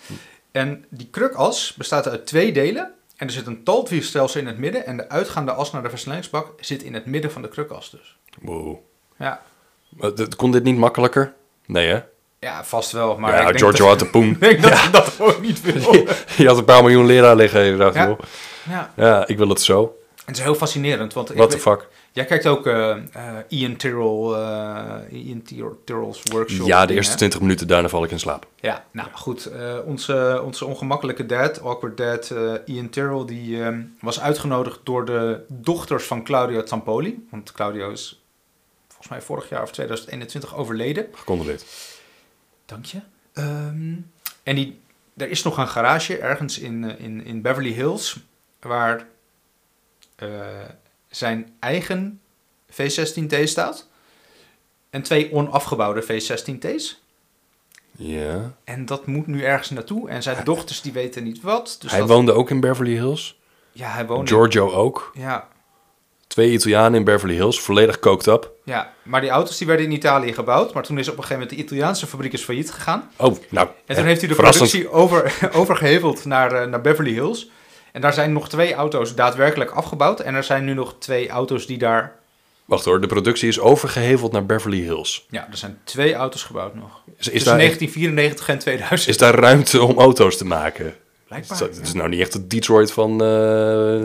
[SPEAKER 4] En die krukas bestaat uit twee delen. En er zit een taltwielstelsel in het midden. En de uitgaande as naar de versnellingsbak zit in het midden van de krukas dus.
[SPEAKER 1] Wow.
[SPEAKER 4] Ja,
[SPEAKER 1] Maar dit- Kon dit niet makkelijker? Nee, hè?
[SPEAKER 4] ja vast wel. Maar ik
[SPEAKER 1] ja,
[SPEAKER 4] denk
[SPEAKER 1] Giorgio
[SPEAKER 4] dat,
[SPEAKER 1] had de poen.
[SPEAKER 4] <laughs> Ik denk dat hij dat ook niet
[SPEAKER 1] <laughs>
[SPEAKER 4] wil.
[SPEAKER 1] Je had een paar miljoen leraar liggen. en Je dacht,
[SPEAKER 4] Oh. Ja.
[SPEAKER 1] joh,
[SPEAKER 4] Ja,
[SPEAKER 1] ja, ik wil het zo.
[SPEAKER 4] het is heel fascinerend. Want ik
[SPEAKER 1] What the
[SPEAKER 4] weet-
[SPEAKER 1] fuck?
[SPEAKER 4] Jij kijkt ook eh, eh, Ian Tyrrell, eh, Ian Tyr- Tyrrell's workshop.
[SPEAKER 1] Ja, de
[SPEAKER 4] dingen,
[SPEAKER 1] eerste
[SPEAKER 4] hè?
[SPEAKER 1] 20 minuten, daarna val ik in slaap.
[SPEAKER 4] Ja, nou goed. eh, onze, onze ongemakkelijke dad, awkward dad, eh, Ian Terrell, die ehm, was uitgenodigd door de dochters van Claudio Tampoli. Want Claudio is volgens mij vorig jaar of 2021 overleden.
[SPEAKER 1] Gecondoleerd.
[SPEAKER 4] Dank je. Ehm, en die, er is nog een garage ergens in, eh, in, in Beverly Hills waar eh, zijn eigen V16T staat. En twee onafgebouwde V16T's.
[SPEAKER 1] Ja.
[SPEAKER 4] En dat moet nu ergens naartoe. En zijn dochters die weten niet wat. Dus
[SPEAKER 1] Hij
[SPEAKER 4] dat-
[SPEAKER 1] woonde ook in Beverly Hills.
[SPEAKER 4] Ja, hij woonde.
[SPEAKER 1] Giorgio ook.
[SPEAKER 4] Ja,
[SPEAKER 1] Twee Italianen in Beverly Hills, volledig cooked up.
[SPEAKER 4] ja, maar die auto's die werden in Italië gebouwd. Maar toen is op een gegeven moment de Italiaanse fabriek is failliet gegaan.
[SPEAKER 1] Oh, nou.
[SPEAKER 4] En toen heeft hij de
[SPEAKER 1] verrassend.
[SPEAKER 4] productie over, <laughs> overgeheveld naar, eh, naar Beverly Hills. En daar zijn nog twee auto's daadwerkelijk afgebouwd. En er zijn nu nog twee auto's die daar.
[SPEAKER 1] Wacht hoor, de productie is overgeheveld naar Beverly Hills.
[SPEAKER 4] Ja, er zijn twee auto's gebouwd nog.
[SPEAKER 1] Is, is,
[SPEAKER 4] Tussen
[SPEAKER 1] daar,
[SPEAKER 4] 1994 en 2000.
[SPEAKER 1] is daar ruimte om auto's te maken?
[SPEAKER 4] Blijkbaar,
[SPEAKER 1] Is dat- Het is nou niet echt het Detroit van... eh,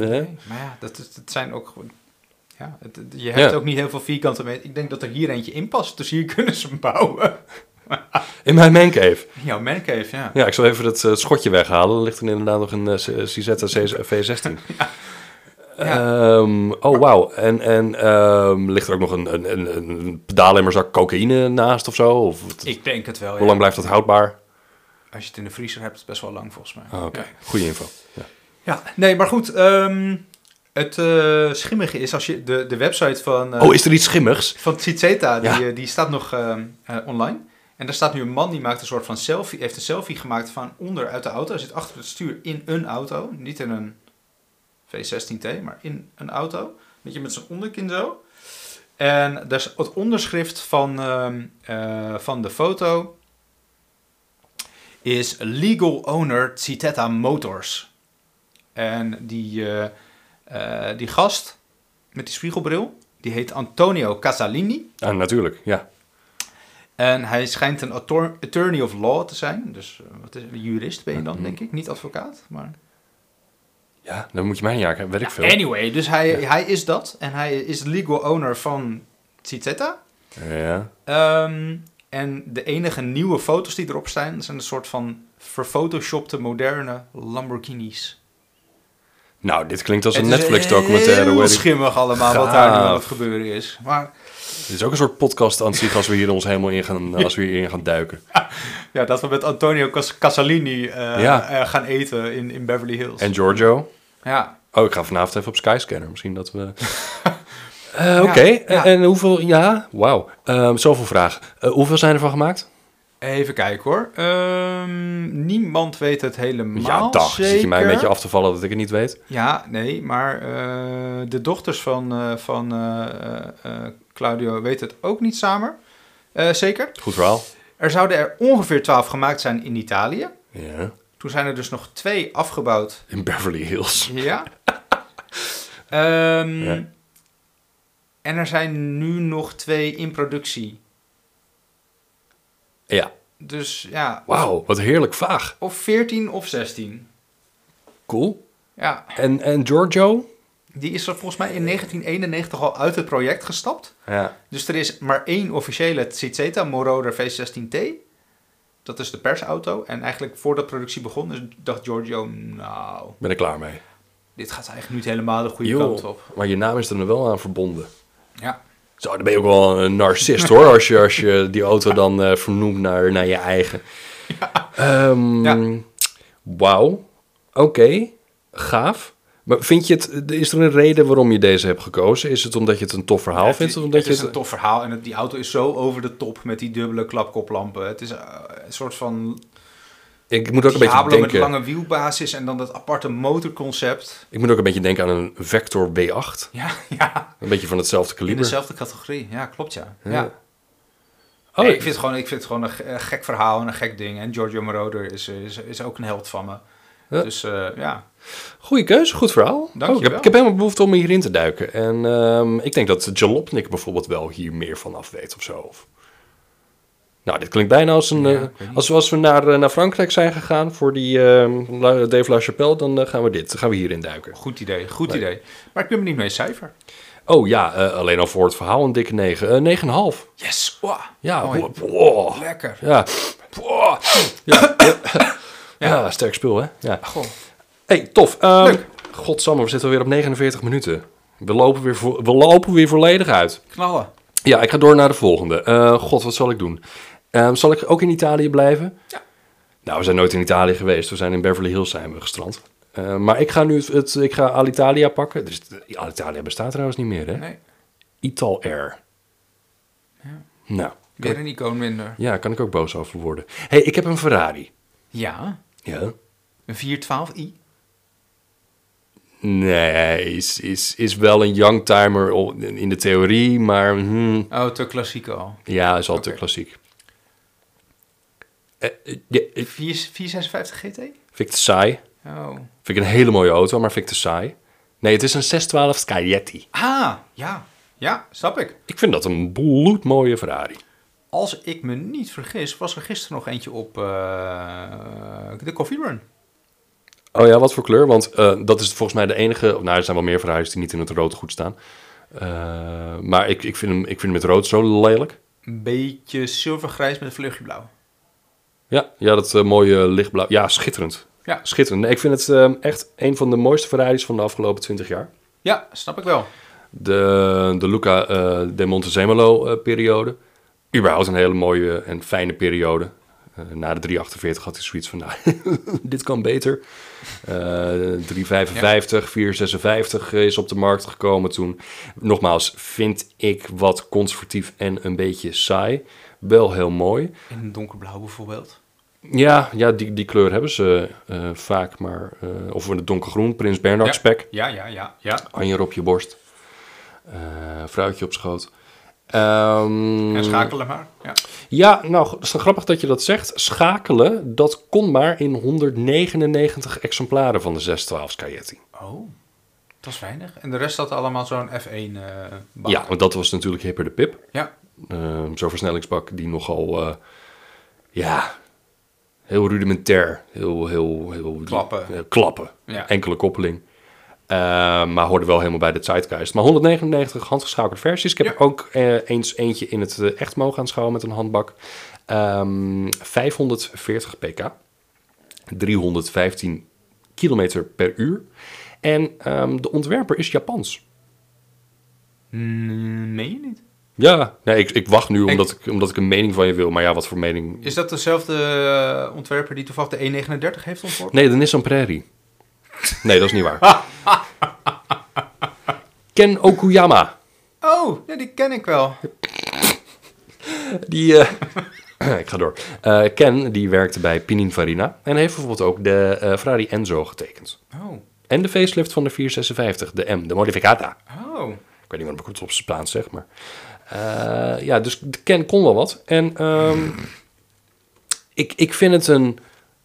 [SPEAKER 1] hè?
[SPEAKER 4] Maar ja, dat, is- dat zijn ook gewoon. Ja, het- het- je hebt
[SPEAKER 1] Ja.
[SPEAKER 4] ook niet heel veel vierkante meter. Ik denk dat er hier eentje in past. Dus hier kunnen ze hem <laughs> bouwen.
[SPEAKER 1] In mijn mancave.
[SPEAKER 4] Jouw mancave, ja.
[SPEAKER 1] Ja, ik zal even dat eh, schotje weghalen. Dan ligt er inderdaad nog een eh, C- Cizetta C- V16.
[SPEAKER 4] <laughs>
[SPEAKER 1] Ehm, oh, wauw. En, en ehm, ligt er ook nog een, een, een, een pedalemmerzak cocaïne naast of zo? Of,
[SPEAKER 4] Ik denk het wel,
[SPEAKER 1] Hoe lang blijft dat houdbaar?
[SPEAKER 4] Als je het in de vriezer hebt, is het best wel lang volgens mij.
[SPEAKER 1] Ah, Oké,
[SPEAKER 4] Ja.
[SPEAKER 1] goede info. Ja.
[SPEAKER 4] Ja, nee, maar goed. ehm, het eh, schimmige is als je de, de website van, eh
[SPEAKER 1] Oh, is er iets schimmigs?
[SPEAKER 4] van Tsitseta, die,
[SPEAKER 1] Ja.
[SPEAKER 4] eh, die staat nog ehm, eh, online. En daar staat nu een man die maakt een soort van selfie, heeft een selfie gemaakt van onder uit de auto. Hij zit achter het stuur in een auto, niet in een V16T, maar in een auto. Weet je, met zijn onderkin zo. En daar is het onderschrift van, ehm, eh, van de foto is Legal Owner Citetta Motors. En die, eh, eh, die gast met die spiegelbril, die heet Antonio Casalini.
[SPEAKER 1] Ah, natuurlijk, ja.
[SPEAKER 4] En hij schijnt een attor- attorney of law te zijn. Dus eh, wat is, een jurist ben je dan,
[SPEAKER 1] Mm-hmm.
[SPEAKER 4] denk ik. Niet advocaat, maar...
[SPEAKER 1] Ja, dan moet je mij niet jagen, weet ik veel.
[SPEAKER 4] Anyway, dus hij, hij is dat. En hij is legal owner van Citetta.
[SPEAKER 1] Ja.
[SPEAKER 4] Ehm, en de enige nieuwe foto's die erop zijn, zijn een soort van verphotoshopte moderne Lamborghinis.
[SPEAKER 1] Nou, dit klinkt als een
[SPEAKER 4] Het is
[SPEAKER 1] Netflix-documentaire.
[SPEAKER 4] Heel
[SPEAKER 1] weet ik.
[SPEAKER 4] schimmig allemaal wat daar nu aan
[SPEAKER 1] Gaaf.
[SPEAKER 4] het gebeuren is. Maar
[SPEAKER 1] Dit is ook een soort podcast aan zich als we hier ons helemaal in gaan, als we hierin gaan duiken.
[SPEAKER 4] ja, dat we met Antonio Cas- Casalini eh,
[SPEAKER 1] Ja.
[SPEAKER 4] eh, gaan eten in, in Beverly Hills.
[SPEAKER 1] En Giorgio?
[SPEAKER 4] ja,
[SPEAKER 1] Oh, ik ga vanavond even op Skyscanner. Misschien dat <laughs> we... Eh,
[SPEAKER 4] Ja,
[SPEAKER 1] Oké,
[SPEAKER 4] ja.
[SPEAKER 1] en hoeveel... Ja, wauw. Ehm, zoveel vragen. Eh, hoeveel zijn ervan gemaakt?
[SPEAKER 4] even kijken hoor. Ehm, niemand weet het helemaal
[SPEAKER 1] ja, dag.
[SPEAKER 4] zeker.
[SPEAKER 1] Zit je mij een beetje af te vallen dat ik het niet weet?
[SPEAKER 4] Ja, nee, maar eh, de dochters van, eh, van eh, eh, eh, Claudio weten het ook niet samen. Eh, zeker.
[SPEAKER 1] Goed verhaal.
[SPEAKER 4] Er Er zouden er ongeveer 12 gemaakt zijn in Italië.
[SPEAKER 1] Ja.
[SPEAKER 4] Toen zijn er dus nog twee afgebouwd.
[SPEAKER 1] In Beverly Hills. <laughs>
[SPEAKER 4] Ja. Ehm,
[SPEAKER 1] Ja.
[SPEAKER 4] En er zijn nu nog twee in productie.
[SPEAKER 1] Ja.
[SPEAKER 4] Dus ja,
[SPEAKER 1] Wauw, wat heerlijk vaag.
[SPEAKER 4] of 14 of 16.
[SPEAKER 1] Cool.
[SPEAKER 4] Ja,
[SPEAKER 1] En, en Giorgio?
[SPEAKER 4] die is er volgens mij in 1991 al uit het project gestapt.
[SPEAKER 1] Ja.
[SPEAKER 4] Dus er is maar één officiële Ciceta Moroder V16T. Dat is de persauto. En eigenlijk voordat productie begon, dus dacht Giorgio, nou,
[SPEAKER 1] Ben ik klaar mee.
[SPEAKER 4] dit gaat eigenlijk niet helemaal de goede
[SPEAKER 1] Joh,
[SPEAKER 4] kant op.
[SPEAKER 1] Maar je naam is er dan wel aan verbonden.
[SPEAKER 4] Ja.
[SPEAKER 1] Zo, dan ben je ook wel een narcist hoor, als je, als je die auto dan eh, vernoemt naar, naar je eigen. Ehm,
[SPEAKER 4] Ja.
[SPEAKER 1] Wauw, oké, gaaf. Maar vind je het, is er een reden waarom je deze hebt gekozen? Is het omdat je het een tof verhaal
[SPEAKER 4] Het,
[SPEAKER 1] vindt? Of
[SPEAKER 4] het
[SPEAKER 1] omdat je
[SPEAKER 4] is
[SPEAKER 1] het,
[SPEAKER 4] een tof verhaal en het- die auto is zo over de top met die dubbele klapkoplampen. Het is eh, een soort van
[SPEAKER 1] ik moet ook een beetje
[SPEAKER 4] Diablo met
[SPEAKER 1] denken.
[SPEAKER 4] lange wielbasis en dan dat aparte motorconcept.
[SPEAKER 1] Ik moet ook een beetje denken aan een Vector B8.
[SPEAKER 4] Ja, <laughs> ja.
[SPEAKER 1] Een beetje van hetzelfde
[SPEAKER 4] In
[SPEAKER 1] kaliber.
[SPEAKER 4] dezelfde categorie. Ja, klopt ja. ja.
[SPEAKER 1] Oh,
[SPEAKER 4] Nee, ik, vind het gewoon, ik vind het gewoon een, ge- een gek verhaal en een gek ding. En Giorgio Moroder is, is, is ook een held van me.
[SPEAKER 1] Ja.
[SPEAKER 4] Dus eh, ja,
[SPEAKER 1] Goeie keuze, goed verhaal. Oh,
[SPEAKER 4] Dankjewel.
[SPEAKER 1] ik, heb, ik heb helemaal behoefte om hierin te duiken. En ehm, ik denk dat Jalopnik bijvoorbeeld wel hier meer van af weet of zo. Of... Nou, dit klinkt bijna als een... eh, als, we- als we naar, eh, naar Frankrijk zijn gegaan voor die ehm, La- Dave LaChapelle, dan eh, gaan we dit, gaan we hierin duiken.
[SPEAKER 4] goed idee, goed
[SPEAKER 1] Leuk.
[SPEAKER 4] idee. Maar ik ben me niet mee cijfer.
[SPEAKER 1] Oh ja, eh, alleen al voor het verhaal een dikke 9. Eh 9,5.
[SPEAKER 4] Yes, Wah.
[SPEAKER 1] Ja,
[SPEAKER 4] Mooi.
[SPEAKER 1] wow, wow.
[SPEAKER 4] lekker.
[SPEAKER 1] ja. Wow. ja. ja. Ja, sterk spul, hè? Ja.
[SPEAKER 4] Goh.
[SPEAKER 1] Hey, tof. Ehm
[SPEAKER 4] Leuk.
[SPEAKER 1] Godsamme, we zitten alweer op 49 minuten. We lopen weer, vo- we lopen weer volledig uit.
[SPEAKER 4] Knallen.
[SPEAKER 1] Ja, ik ga door naar de volgende. Eh, God, wat zal ik doen? Ehm, zal ik ook in Italië blijven?
[SPEAKER 4] Ja.
[SPEAKER 1] Nou, we zijn nooit in Italië geweest. We zijn in Beverly Hills zijn we gestrand. Eh, maar ik ga nu het, het- ik ga Alitalia pakken. Dus, eh, Alitalia bestaat trouwens niet meer, hè?
[SPEAKER 4] Nee,
[SPEAKER 1] Ital Air. Nou,
[SPEAKER 4] weer een icoon minder.
[SPEAKER 1] ja, kan ik ook boos over worden. hey, ik heb een Ferrari.
[SPEAKER 4] Ja,
[SPEAKER 1] Ja.
[SPEAKER 4] een 412i.
[SPEAKER 1] Nee, is, is, is wel een youngtimer o- in de theorie, maar hmm,
[SPEAKER 4] Oh, te klassiek al.
[SPEAKER 1] ja, is al te
[SPEAKER 4] Oké.
[SPEAKER 1] klassiek. Eh, eh, ja, eh,
[SPEAKER 4] 4, 456 GT?
[SPEAKER 1] vind ik te saai.
[SPEAKER 4] Oh.
[SPEAKER 1] Vind ik een hele mooie auto, maar vind ik te saai. Nee, het is een 612 Scaglietti.
[SPEAKER 4] Ah, ja. Ja, snap ik.
[SPEAKER 1] Ik vind dat een bloedmooie Ferrari.
[SPEAKER 4] Als ik me niet vergis, was er gisteren nog eentje op eh, de Coffee Run.
[SPEAKER 1] Oh ja, wat voor kleur? Want eh, dat is volgens mij de enige... Nou, er zijn wel meer Ferraris die niet in het rood goed staan. Eh, maar ik, ik, vind hem, ik vind hem met rood zo lelijk.
[SPEAKER 4] Een beetje zilvergrijs met een vleugje blauw.
[SPEAKER 1] Ja, ja dat eh, mooie lichtblauw. Ja, schitterend.
[SPEAKER 4] Ja.
[SPEAKER 1] Schitterend. Nee, ik vind het ehm, echt een van de mooiste Ferraris van de afgelopen 20 jaar.
[SPEAKER 4] Ja, snap ik wel.
[SPEAKER 1] De, de Luca eh, de Montezemolo eh, periode. Überhaupt een hele mooie en fijne periode. Eh, na de 348 had ik zoiets van, nou, <laughs> dit kan beter. Eh 355, 456 is op de markt gekomen toen. Nogmaals, vind ik wat conservatief en een beetje saai. Wel heel mooi.
[SPEAKER 4] In donkerblauw bijvoorbeeld.
[SPEAKER 1] Ja, ja die, die kleur hebben ze eh, vaak maar. eh of in het donkergroen, Prins Bernhard spek.
[SPEAKER 4] Ja, ja, ja. ja.
[SPEAKER 1] Anjer op je borst. Eh, fruitje op schoot. Ehm,
[SPEAKER 4] En schakelen maar. Ja.
[SPEAKER 1] Ja, nou, het is dan grappig dat je dat zegt. Schakelen, dat kon maar in 199 exemplaren van de 612 Scaglietti.
[SPEAKER 4] Oh, dat is weinig. En de rest had allemaal zo'n F1 eh bak.
[SPEAKER 1] Ja, want dat was natuurlijk hipper de pip.
[SPEAKER 4] ja.
[SPEAKER 1] Ehm, Zo'n versnellingsbak die nogal, eh, ja, heel rudimentair. Heel, heel, heel...
[SPEAKER 4] Klappen.
[SPEAKER 1] eh, klappen.
[SPEAKER 4] Ja.
[SPEAKER 1] Enkele koppeling. Ehm, maar hoorde wel helemaal bij de zeitgeist. Maar 199 handgeschakelde versies. Ik heb
[SPEAKER 4] Ja.
[SPEAKER 1] er ook eh, eens eentje in het eh, echt mogen aanschouwen met een handbak. Ehm, 540 pk. 315 kilometer per uur. En ehm, de ontwerper is Japans.
[SPEAKER 4] Mm, meen je niet?
[SPEAKER 1] Ja, nee, ik, ik wacht nu
[SPEAKER 4] Ik-
[SPEAKER 1] omdat ik, omdat ik een mening van je wil. Maar ja, wat voor mening?
[SPEAKER 4] Is dat dezelfde eh, ontwerper die toevallig de E39 heeft ontworpen?
[SPEAKER 1] Nee, de Nissan Prairie. Nee, dat is niet
[SPEAKER 4] <laughs>
[SPEAKER 1] waar. Ken Okuyama.
[SPEAKER 4] Oh, ja, die ken ik wel.
[SPEAKER 1] Die, eh, <clears throat> ik ga door. Eh, Ken, die werkte bij Pininfarina. En heeft bijvoorbeeld ook de eh, Ferrari Enzo getekend.
[SPEAKER 4] Oh,
[SPEAKER 1] En de facelift van de 456, de M, de Modificata.
[SPEAKER 4] oh.
[SPEAKER 1] Ik weet niet wat ik het op zijn Spaans zeg, maar... eh, ja, dus de Ken kon wel wat. En ehm, ik, ik vind het een...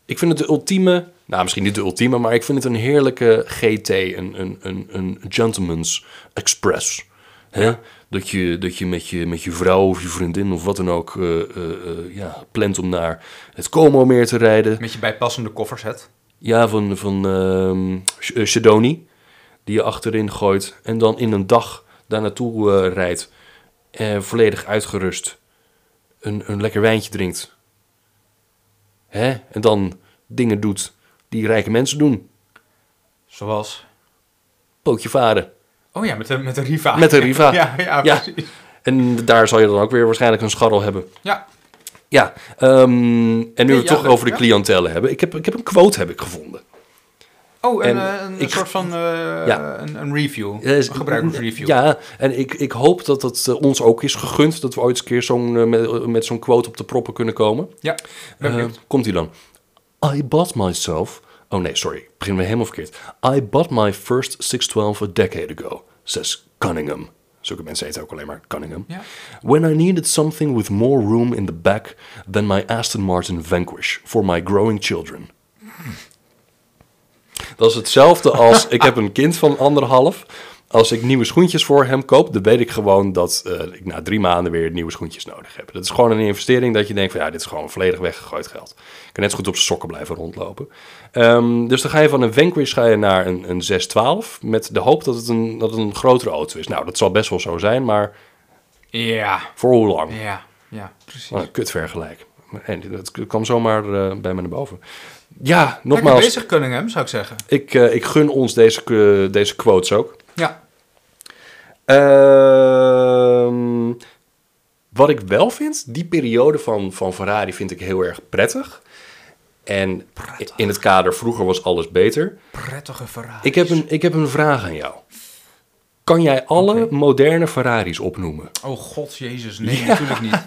[SPEAKER 1] Ik vind het de ultieme... Nou, misschien niet de ultieme, maar ik vind het een heerlijke GT. Een, een, een, een gentleman's express. Hè? Dat je, dat je, met je met je vrouw of je vriendin of wat dan ook... eh, eh, eh, ja, plant om naar het Como meer te rijden.
[SPEAKER 4] Met je bijpassende koffers, het.
[SPEAKER 1] Ja, van, van ehm, Sh- eh, Shedoni. Die je achterin gooit. En dan in een dag daar naartoe eh, rijdt. Eh, volledig uitgerust. Een, een lekker wijntje drinkt. Hè? En dan dingen doet die rijke mensen doen.
[SPEAKER 4] Zoals.
[SPEAKER 1] Pootje varen.
[SPEAKER 4] Oh ja, met de, met de Riva.
[SPEAKER 1] Met een Riva.
[SPEAKER 4] <laughs> ja, ja, precies.
[SPEAKER 1] En daar zal je dan ook weer waarschijnlijk een scharrel hebben.
[SPEAKER 4] Ja,
[SPEAKER 1] Ja, ehm, en nu we
[SPEAKER 4] ja,
[SPEAKER 1] het toch
[SPEAKER 4] dat-
[SPEAKER 1] over de
[SPEAKER 4] ja.
[SPEAKER 1] cliëntele hebben. Ik heb, ik heb een quote heb ik gevonden.
[SPEAKER 4] Oh,
[SPEAKER 1] En
[SPEAKER 4] een, eh, een,
[SPEAKER 1] ik-
[SPEAKER 4] soort van eh,
[SPEAKER 1] Ja.
[SPEAKER 4] een, een review.
[SPEAKER 1] Ja, is-
[SPEAKER 4] een gebruikersreview.
[SPEAKER 1] Ja, en ik, ik hoop dat dat eh, ons ook is gegund. Dat we ooit eens een keer zo'n, eh, met, met zo'n quote op de proppen kunnen komen.
[SPEAKER 4] ja. ben benieuwd.
[SPEAKER 1] Eh, komt hij dan? I bought myself. Oh nee, sorry. Ik begin weer helemaal verkeerd. I bought my first 612 a decade ago, says Cunningham. Zulke mensen heten ook alleen maar Cunningham.
[SPEAKER 4] Ja.
[SPEAKER 1] When I needed something with more room in the back than my Aston Martin Vanquish for my growing children. Dat is hetzelfde als ik heb een kind van anderhalf. Als ik nieuwe schoentjes voor hem koop, dan weet ik gewoon dat eh, ik na drie maanden weer nieuwe schoentjes nodig heb. Dat is gewoon een investering dat je denkt van ja, dit is gewoon volledig weggegooid geld. Ik kan net zo goed op zijn sokken blijven rondlopen. Ehm, dus dan ga je van een Vanquish ga je naar een, een 612 met de hoop dat het, een, dat het een grotere auto is. Nou, dat zal best wel zo zijn, maar
[SPEAKER 4] Ja,
[SPEAKER 1] voor hoe lang?
[SPEAKER 4] ja, ja, precies.
[SPEAKER 1] Wat een kut vergelijk. En dat kwam zomaar eh, bij me naar boven. Ja,
[SPEAKER 4] Lekker
[SPEAKER 1] nogmaals,
[SPEAKER 4] bezig, Cunningham, zou ik zeggen.
[SPEAKER 1] ik, eh, ik gun ons deze, eh, deze quotes ook.
[SPEAKER 4] Ja.
[SPEAKER 1] Ehm, wat ik wel vind, die periode van, van Ferrari vind ik heel erg prettig. En in het kader vroeger was alles beter.
[SPEAKER 4] Prettige verhaal.
[SPEAKER 1] Ik heb een, ik heb een vraag aan jou. Kan jij alle moderne Ferraris opnoemen?
[SPEAKER 4] Oh god, jezus, nee, natuurlijk
[SPEAKER 1] <laughs>
[SPEAKER 4] niet.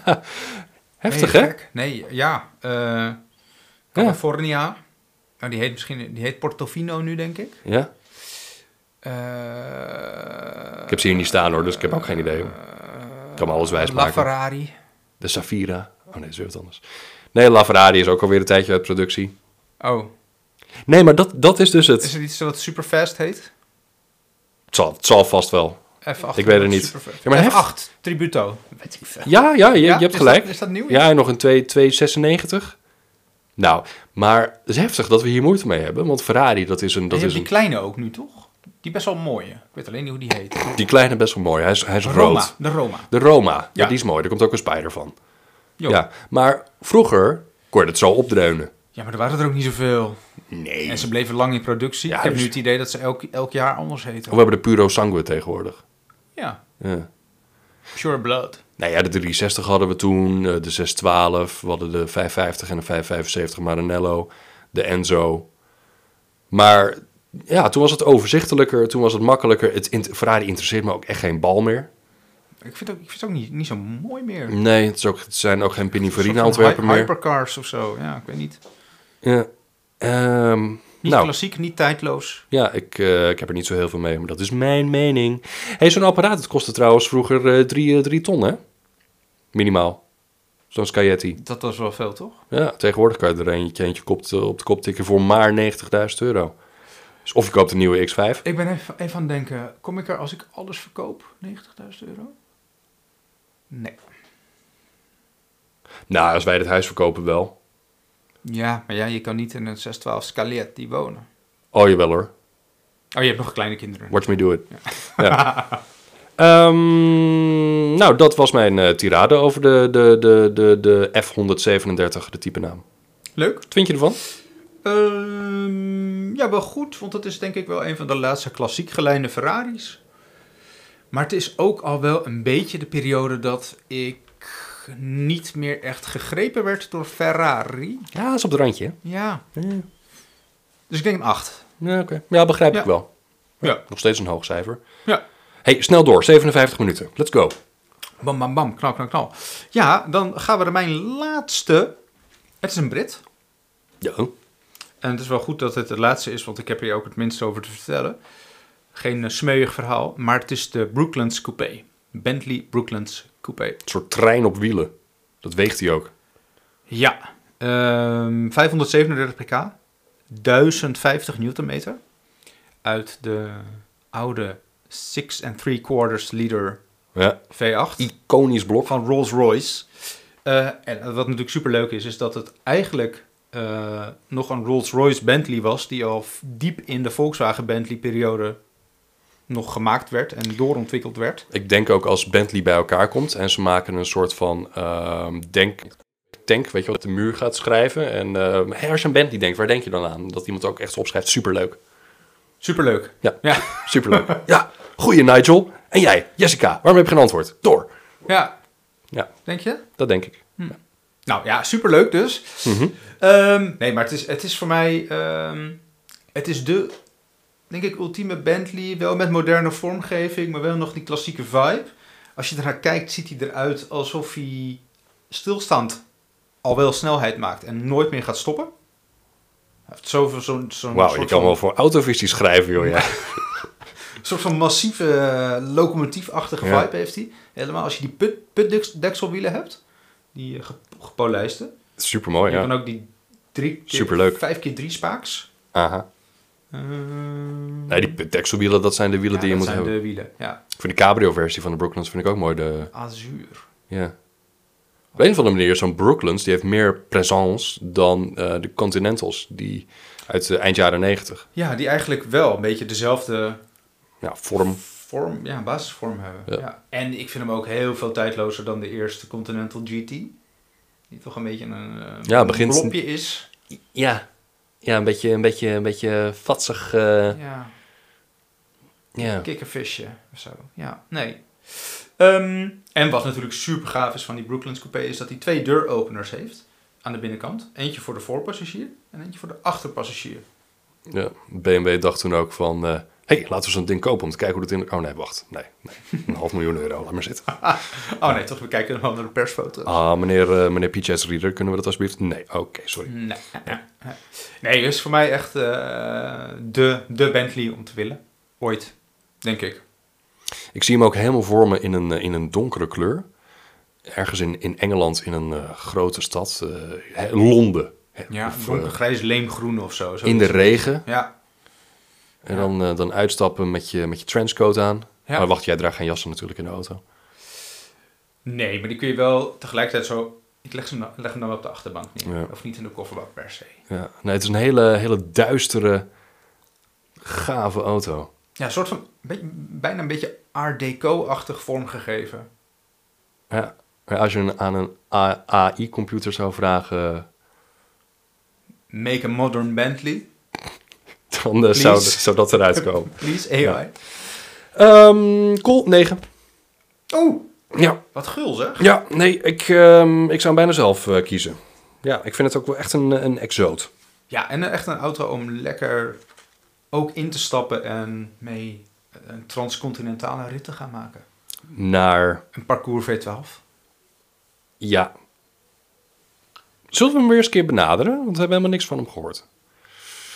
[SPEAKER 1] Heftig,
[SPEAKER 4] nee,
[SPEAKER 1] hè?
[SPEAKER 4] gek. Nee, ja. eh, California. Nou, die heet misschien, die heet Portofino nu, denk ik.
[SPEAKER 1] Ja?
[SPEAKER 4] Eh,
[SPEAKER 1] Ik heb ze hier niet staan hoor, dus ik heb ook geen idee. Ik kan me alles
[SPEAKER 4] Eh, La
[SPEAKER 1] wijsmaken.
[SPEAKER 4] Ferrari.
[SPEAKER 1] De Safira. Oh nee, dat is weer wat anders. Nee, La Ferrari is ook alweer een tijdje uit productie.
[SPEAKER 4] Oh,
[SPEAKER 1] Nee, maar dat, dat is dus het.
[SPEAKER 4] is er iets wat superfast heet?
[SPEAKER 1] Het zal, het zal vast wel.
[SPEAKER 4] F8.
[SPEAKER 1] Ik weet het niet.
[SPEAKER 4] Superfast.
[SPEAKER 1] Ja, maar hef-
[SPEAKER 4] F8, Tributo. Weet ik veel.
[SPEAKER 1] Ja, ja, je, je
[SPEAKER 4] Ja,
[SPEAKER 1] hebt
[SPEAKER 4] is
[SPEAKER 1] gelijk.
[SPEAKER 4] dat- is dat nieuw?
[SPEAKER 1] Ja, en nog een 2 296. Nou, maar het is heftig dat we hier moeite mee hebben. Want Ferrari, dat is een... Dat
[SPEAKER 4] je
[SPEAKER 1] is
[SPEAKER 4] hebt
[SPEAKER 1] een
[SPEAKER 4] die kleine ook nu, toch? Die best wel mooie. Ik weet alleen niet hoe die heet.
[SPEAKER 1] die kleine best wel mooi. Hij is, hij is
[SPEAKER 4] Roma.
[SPEAKER 1] rood.
[SPEAKER 4] De Roma.
[SPEAKER 1] De Roma. Ja.
[SPEAKER 4] Ja.
[SPEAKER 1] die is mooi. Er komt ook een spider van.
[SPEAKER 4] Jo.
[SPEAKER 1] Ja, maar vroeger kon je het zo opdreunen.
[SPEAKER 4] Ja, maar er waren er ook niet zoveel.
[SPEAKER 1] Nee.
[SPEAKER 4] En ze bleven lang in productie.
[SPEAKER 1] Ja,
[SPEAKER 4] ik heb
[SPEAKER 1] dus-
[SPEAKER 4] nu het idee dat ze elk, elk jaar anders heten.
[SPEAKER 1] We hebben de Puro Sangue tegenwoordig.
[SPEAKER 4] Ja,
[SPEAKER 1] Ja.
[SPEAKER 4] Pure Blood.
[SPEAKER 1] Nou ja, de 360 hadden we toen, eh, de 612, we hadden de 550 en de 575 Maranello, de Enzo. Maar ja, toen was het overzichtelijker, toen was het makkelijker. Het in- Ferrari interesseert me ook echt geen bal meer.
[SPEAKER 4] Ik vind, ook, ik vind het ook niet, niet zo mooi meer. Een
[SPEAKER 1] Nee, het, is ook, het zijn ook geen
[SPEAKER 4] soort
[SPEAKER 1] Pininfarina
[SPEAKER 4] van
[SPEAKER 1] ontwerpen
[SPEAKER 4] hy-
[SPEAKER 1] meer.
[SPEAKER 4] Hypercars of zo. Ja, ik weet niet.
[SPEAKER 1] Ja. Ehm,
[SPEAKER 4] Niet
[SPEAKER 1] nou,
[SPEAKER 4] klassiek, niet tijdloos.
[SPEAKER 1] ja, ik, eh, ik heb er niet zo heel veel mee, maar dat is mijn mening. hey, zo'n apparaat, het kostte trouwens vroeger eh, drie, eh, drie ton, hè? Minimaal. Zo'n Scaietti.
[SPEAKER 4] Dat was wel veel, toch?
[SPEAKER 1] Ja, tegenwoordig kan je er eentje, eentje kop, te- op de kop tikken voor maar 90.000 euro. Dus of je koopt een nieuwe X5.
[SPEAKER 4] Ik ben even, even aan het denken. Kom ik er als ik alles verkoop? 90.000 euro? Nee.
[SPEAKER 1] Nou, als wij dit huis verkopen wel.
[SPEAKER 4] Ja, maar ja, je kan niet in een 612 Scaletti wonen.
[SPEAKER 1] Oh, jawel hoor.
[SPEAKER 4] Oh, je hebt nog kleine kinderen.
[SPEAKER 1] Watch me do it. Ja. Ehm, nou, dat was mijn eh, tirade over de, de, de, de, de F137, de type naam.
[SPEAKER 4] Leuk.
[SPEAKER 1] Wat vind je ervan?
[SPEAKER 4] Ehm, ja, wel goed, want dat is denk ik wel een van de laatste klassiek geleide Ferraris. Maar het is ook al wel een beetje de periode dat ik niet meer echt gegrepen werd door Ferrari.
[SPEAKER 1] Ja, dat is op het randje. hè?
[SPEAKER 4] Ja.
[SPEAKER 1] Ja.
[SPEAKER 4] Dus ik denk een 8.
[SPEAKER 1] Ja, oké. ja begrijp
[SPEAKER 4] Ja.
[SPEAKER 1] ik wel.
[SPEAKER 4] Ja.
[SPEAKER 1] Nog steeds een hoog cijfer.
[SPEAKER 4] Ja.
[SPEAKER 1] hey, snel door. 57 minuten. Let's go.
[SPEAKER 4] Bam, bam, bam. Knal, knal, knal. Ja, dan gaan we naar mijn laatste. Het is een Brit.
[SPEAKER 1] Ja.
[SPEAKER 4] En het is wel goed dat het de laatste is, want ik heb hier ook het minste over te vertellen. Geen eh, smeuïg verhaal, maar het is de Brooklands Coupé. Bentley Brooklands Coupé.
[SPEAKER 1] Een soort trein op wielen. Dat weegt hij ook.
[SPEAKER 4] Ja, Ehm, 537 pk, 1050 newtonmeter. Uit de oude 6 and 3 quarters liter
[SPEAKER 1] Ja.
[SPEAKER 4] V8
[SPEAKER 1] Iconisch blok.
[SPEAKER 4] van Rolls Royce. Eh, en wat natuurlijk super leuk is, is dat het eigenlijk eh, nog een Rolls Royce Bentley was, die al f- diep in de Volkswagen Bentley periode nog gemaakt werd en doorontwikkeld werd.
[SPEAKER 1] Ik denk ook als Bentley bij elkaar komt en ze maken een soort van ehm, denk, tank, weet je wat, de muur gaat schrijven. En ehm, hey, als je aan Bentley denkt, waar denk je dan aan? Dat iemand ook echt opschrijft, superleuk.
[SPEAKER 4] Superleuk.
[SPEAKER 1] Ja,
[SPEAKER 4] Ja.
[SPEAKER 1] superleuk. ja, goeie Nigel. En jij, Jessica, waarom heb je geen antwoord? Door.
[SPEAKER 4] Ja,
[SPEAKER 1] Ja,
[SPEAKER 4] denk je?
[SPEAKER 1] dat denk ik.
[SPEAKER 4] Nou ja, superleuk dus.
[SPEAKER 1] Mhm.
[SPEAKER 4] Ehm, nee, maar het is, het is voor mij... ehm, het is de, denk ik, ultieme Bentley. Wel met moderne vormgeving, maar wel nog die klassieke vibe. Als je ernaar kijkt, ziet hij eruit alsof hij stilstaand al wel snelheid maakt. En nooit meer gaat stoppen. Hij heeft zoveel zo'n zo'n
[SPEAKER 1] Wauw, je
[SPEAKER 4] soort,
[SPEAKER 1] kan
[SPEAKER 4] van-
[SPEAKER 1] wel voor autovisie schrijven, joh.
[SPEAKER 4] <laughs>
[SPEAKER 1] Ja.
[SPEAKER 4] soort van massieve eh, locomotiefachtige
[SPEAKER 1] Ja.
[SPEAKER 4] vibe heeft hij. Helemaal als je die put, putdekselwielen hebt. Die eh, ge- gepolijste.
[SPEAKER 1] Supermooi,
[SPEAKER 4] Je
[SPEAKER 1] ja.
[SPEAKER 4] kan ook die drie keer,
[SPEAKER 1] Superleuk.
[SPEAKER 4] vijf keer drie spaaks.
[SPEAKER 1] Aha.
[SPEAKER 4] Ehm,
[SPEAKER 1] Nee, die dekselwielen, dat zijn de wielen
[SPEAKER 4] ja,
[SPEAKER 1] die je
[SPEAKER 4] dat
[SPEAKER 1] moet
[SPEAKER 4] zijn
[SPEAKER 1] hebben.
[SPEAKER 4] de wielen. Ja,
[SPEAKER 1] Voor de cabrio-versie van de Brooklands vind ik ook mooi de...
[SPEAKER 4] azuur.
[SPEAKER 1] Ja. Op een of andere manier, zo'n Brooklands, die heeft meer présence dan eh, de Continentals, die uit de eind jaren negentig.
[SPEAKER 4] Ja, die eigenlijk wel een beetje dezelfde
[SPEAKER 1] Ja, vorm.
[SPEAKER 4] vorm, ja, basisvorm hebben.
[SPEAKER 1] Ja.
[SPEAKER 4] Ja. En ik vind hem ook heel veel tijdlozer dan de eerste Continental GT. Die toch een beetje een, eh,
[SPEAKER 1] Ja,
[SPEAKER 4] een
[SPEAKER 1] begint-
[SPEAKER 4] blopje is.
[SPEAKER 1] Ja, ja een beetje, een beetje, een beetje vatsig. eh,
[SPEAKER 4] Ja,
[SPEAKER 1] ja.
[SPEAKER 4] kikkervisje of zo. Ja, nee. Ehm, en wat natuurlijk super gaaf is van die Brooklands Coupé is dat hij twee deuropeners heeft aan de binnenkant. Eentje voor de voorpassagier en eentje voor de achterpassagier.
[SPEAKER 1] ja. BMW dacht toen ook van, eh hey, laten we zo'n ding kopen om te kijken hoe dat in... Oh nee, wacht, nee, nee. een half miljoen euro, laat maar zitten.
[SPEAKER 4] Oh nee, toch, we kijken wel naar de persfoto.
[SPEAKER 1] Ah, meneer, eh meneer PJ's Reader, kunnen we dat alsjeblieft? Nee, oké, sorry.
[SPEAKER 4] Nee, nee, is voor mij echt eh, de, de Bentley om te willen. Ooit, denk ik.
[SPEAKER 1] Ik zie hem ook helemaal voor me in een, eh, in een donkere kleur. Ergens in, in Engeland, in een eh, grote stad. eh, hè, Londen. Hè,
[SPEAKER 4] Ja,
[SPEAKER 1] of, eh,
[SPEAKER 4] donkergrijs leemgroen of zo. zo
[SPEAKER 1] in de regen.
[SPEAKER 4] Ja,
[SPEAKER 1] En dan, eh, dan uitstappen met je, met je trenchcoat aan.
[SPEAKER 4] Ja.
[SPEAKER 1] Maar wacht, jij draagt geen jassen natuurlijk in de auto.
[SPEAKER 4] nee, maar die kun je wel tegelijkertijd zo... Ik leg, ze, leg hem dan wel op de achterbank neer.
[SPEAKER 1] Ja.
[SPEAKER 4] Of niet in de kofferbak per se.
[SPEAKER 1] Ja. Nee, het is een hele, hele duistere, gave auto.
[SPEAKER 4] Ja, een soort van be- bijna een beetje art deco-achtig vormgegeven.
[SPEAKER 1] Ja. Maar als je een- aan een AI-computer zou vragen, <laughs>
[SPEAKER 4] Make a modern Bentley.
[SPEAKER 1] dan eh, zou,
[SPEAKER 4] Please.
[SPEAKER 1] zou dat eruit komen.
[SPEAKER 4] Please,
[SPEAKER 1] <laughs>
[SPEAKER 4] AI.
[SPEAKER 1] Ehm cool, 9.
[SPEAKER 4] Oh,
[SPEAKER 1] Ja,
[SPEAKER 4] wat gul zeg.
[SPEAKER 1] Ja, nee, ik, ehm, ik zou hem bijna zelf eh, kiezen. Ja, ik vind het ook wel echt een, een exoot.
[SPEAKER 4] Ja, en echt een auto om lekker ook in te stappen en mee een transcontinentale rit te gaan maken.
[SPEAKER 1] Naar,
[SPEAKER 4] Een parcours V12.
[SPEAKER 1] ja. Zullen we hem weer eens een keer benaderen? Want we hebben helemaal niks van hem gehoord.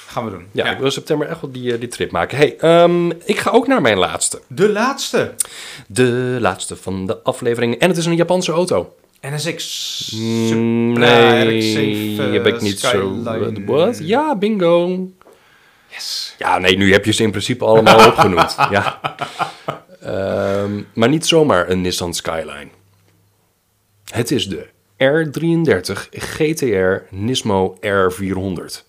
[SPEAKER 4] Gaan we doen.
[SPEAKER 1] Ja, ik wil in september echt wel die, eh, die trip maken. hey, ehm, ik ga ook naar mijn laatste.
[SPEAKER 4] De laatste.
[SPEAKER 1] De laatste van de aflevering. En het is een Japanse auto.
[SPEAKER 4] NSX.
[SPEAKER 1] Mm,
[SPEAKER 4] Supra
[SPEAKER 1] nee,
[SPEAKER 4] RX-7
[SPEAKER 1] heb ik niet
[SPEAKER 4] eh, Skyline.
[SPEAKER 1] zo... Wat? Ja, bingo.
[SPEAKER 4] Yes.
[SPEAKER 1] Ja, nee, nu heb je ze in principe
[SPEAKER 4] <laughs>
[SPEAKER 1] allemaal opgenoemd. Ja. Ehm, maar niet zomaar een Nissan Skyline. Het is de R33 GTR Nismo R400.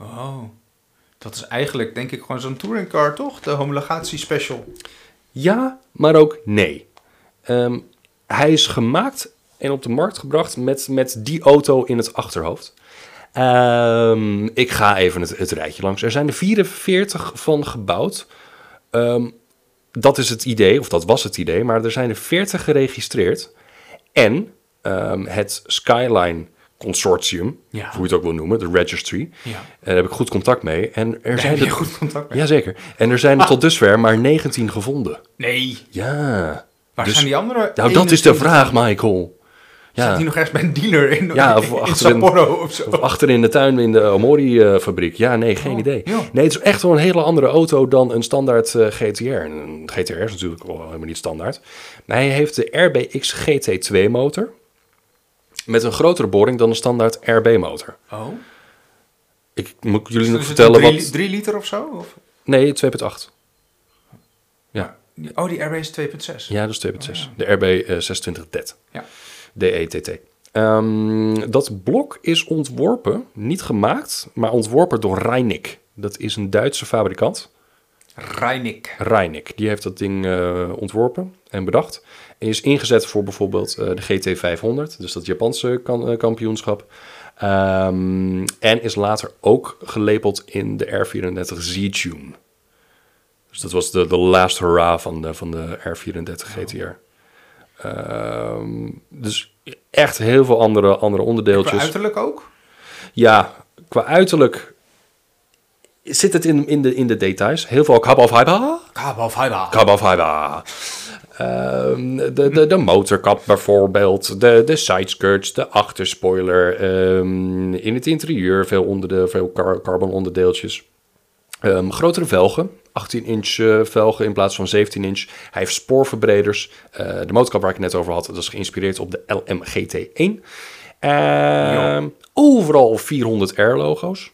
[SPEAKER 4] Oh. Dat is eigenlijk denk ik gewoon zo'n touringcar toch? De homologatie special.
[SPEAKER 1] Ja, maar ook nee. Ehm, hij is gemaakt en op de markt gebracht met, met die auto in het achterhoofd. Ehm, ik ga even het, het rijtje langs. Er zijn er 44 van gebouwd. Ehm, dat is het idee, of dat was het idee, maar er zijn er 40 geregistreerd. En ehm, het Skyline Consortium,
[SPEAKER 4] Ja.
[SPEAKER 1] hoe je het ook wil noemen, de registry. Eh,
[SPEAKER 4] Ja.
[SPEAKER 1] Daar heb ik goed contact mee. En er zijn
[SPEAKER 4] heb je
[SPEAKER 1] er
[SPEAKER 4] goed contact Ah. mee?
[SPEAKER 1] Jazeker. En er zijn er tot dusver maar 19 gevonden.
[SPEAKER 4] Nee.
[SPEAKER 1] Ja.
[SPEAKER 4] Waar
[SPEAKER 1] Dus-
[SPEAKER 4] zijn die andere?
[SPEAKER 1] Nou, dat is de
[SPEAKER 4] 21?
[SPEAKER 1] vraag, Michael.
[SPEAKER 4] Zit
[SPEAKER 1] Ja.
[SPEAKER 4] die nog ergens bij een dealer in, <laughs>
[SPEAKER 1] Ja, of
[SPEAKER 4] in,
[SPEAKER 1] achterin- Oh.
[SPEAKER 4] Sapporo of zo?
[SPEAKER 1] Of achter in de tuin in de Omori-fabriek. Ja, nee, geen
[SPEAKER 4] Oh,
[SPEAKER 1] idee.
[SPEAKER 4] ja.
[SPEAKER 1] Nee, het is echt wel een hele andere auto dan een standaard eh, GTR. En Een GTR is natuurlijk al helemaal niet standaard. Maar hij heeft de RBX GT2 motor. Met een grotere boring dan de standaard RB-motor.
[SPEAKER 4] Oh.
[SPEAKER 1] Ik moet jullie nog
[SPEAKER 4] Is het een
[SPEAKER 1] vertellen
[SPEAKER 4] drie,
[SPEAKER 1] wat...
[SPEAKER 4] drie liter of zo? Of?
[SPEAKER 1] Nee, 2.8. Ja.
[SPEAKER 4] Oh, die RB is 2,6.
[SPEAKER 1] Ja, dat is 2.6. De RB eh, 26 DET.
[SPEAKER 4] Ja.
[SPEAKER 1] DETT. E Ehm, dat blok is ontworpen, niet gemaakt, maar ontworpen door Reinik. Dat is een Duitse fabrikant.
[SPEAKER 4] Reinik.
[SPEAKER 1] Reinik, die heeft dat ding eh, ontworpen en bedacht. En is ingezet voor bijvoorbeeld eh, de GT500, dus dat Japanse kan- eh, kampioenschap. Ehm, en is later ook gelepeld in de R34 Z-Tune. Dus dat was de, de laatste hurrah van de, van de R34 GTR. Ehm, dus echt heel veel andere, andere
[SPEAKER 4] Qua
[SPEAKER 1] onderdeeltjes.
[SPEAKER 4] uiterlijk ook?
[SPEAKER 1] Ja, qua uiterlijk zit het in, in, de, in de details. Heel veel kap of hyper.
[SPEAKER 4] Kabel fiber.
[SPEAKER 1] Kabafaba. Ehm, de, de, de motorkap bijvoorbeeld, de, de sideskirts, de achterspoiler. ehm, in het interieur veel, onderdeel, veel car- carbon onderdeeltjes. Ehm, grotere velgen, 18 inch eh, velgen in plaats van 17 inch. Hij heeft spoorverbreders. Eh, de motorkap waar ik het net over had, dat is geïnspireerd op de LMGT1. Ehm, overal 400R-logo's.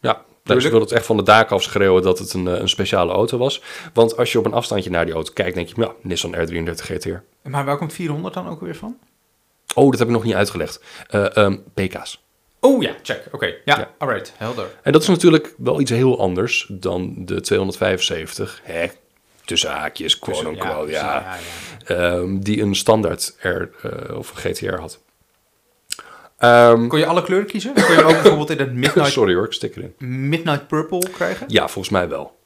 [SPEAKER 1] Ja, dus ik
[SPEAKER 4] Tuurlijk.
[SPEAKER 1] wilde het echt van de daken af schreeuwen dat het een, eh, een speciale auto was. Want als je op een afstandje naar die auto kijkt, denk je, ja, Nissan R33 GTR.
[SPEAKER 4] Maar waar komt 400 dan ook weer van?
[SPEAKER 1] Oh, dat heb ik nog niet uitgelegd. Eh, ehm, PK's.
[SPEAKER 4] Oh ja, check. Oké. Ja,
[SPEAKER 1] Ja.
[SPEAKER 4] alright. Helder.
[SPEAKER 1] En dat is natuurlijk wel iets heel anders dan de 275. Hè? Tussen haakjes, quote
[SPEAKER 4] Tussen- ja,
[SPEAKER 1] unquote,
[SPEAKER 4] tussen-
[SPEAKER 1] ja.
[SPEAKER 4] ja,
[SPEAKER 1] Ehm, die een standaard R eh, of GTR had. Ehm,
[SPEAKER 4] Kon je alle kleuren kiezen? Kon je hem ook bijvoorbeeld in het Midnight,
[SPEAKER 1] sorry hoor, ik stik erin.
[SPEAKER 4] Mm. midnight Purple krijgen?
[SPEAKER 1] Ja, volgens mij wel.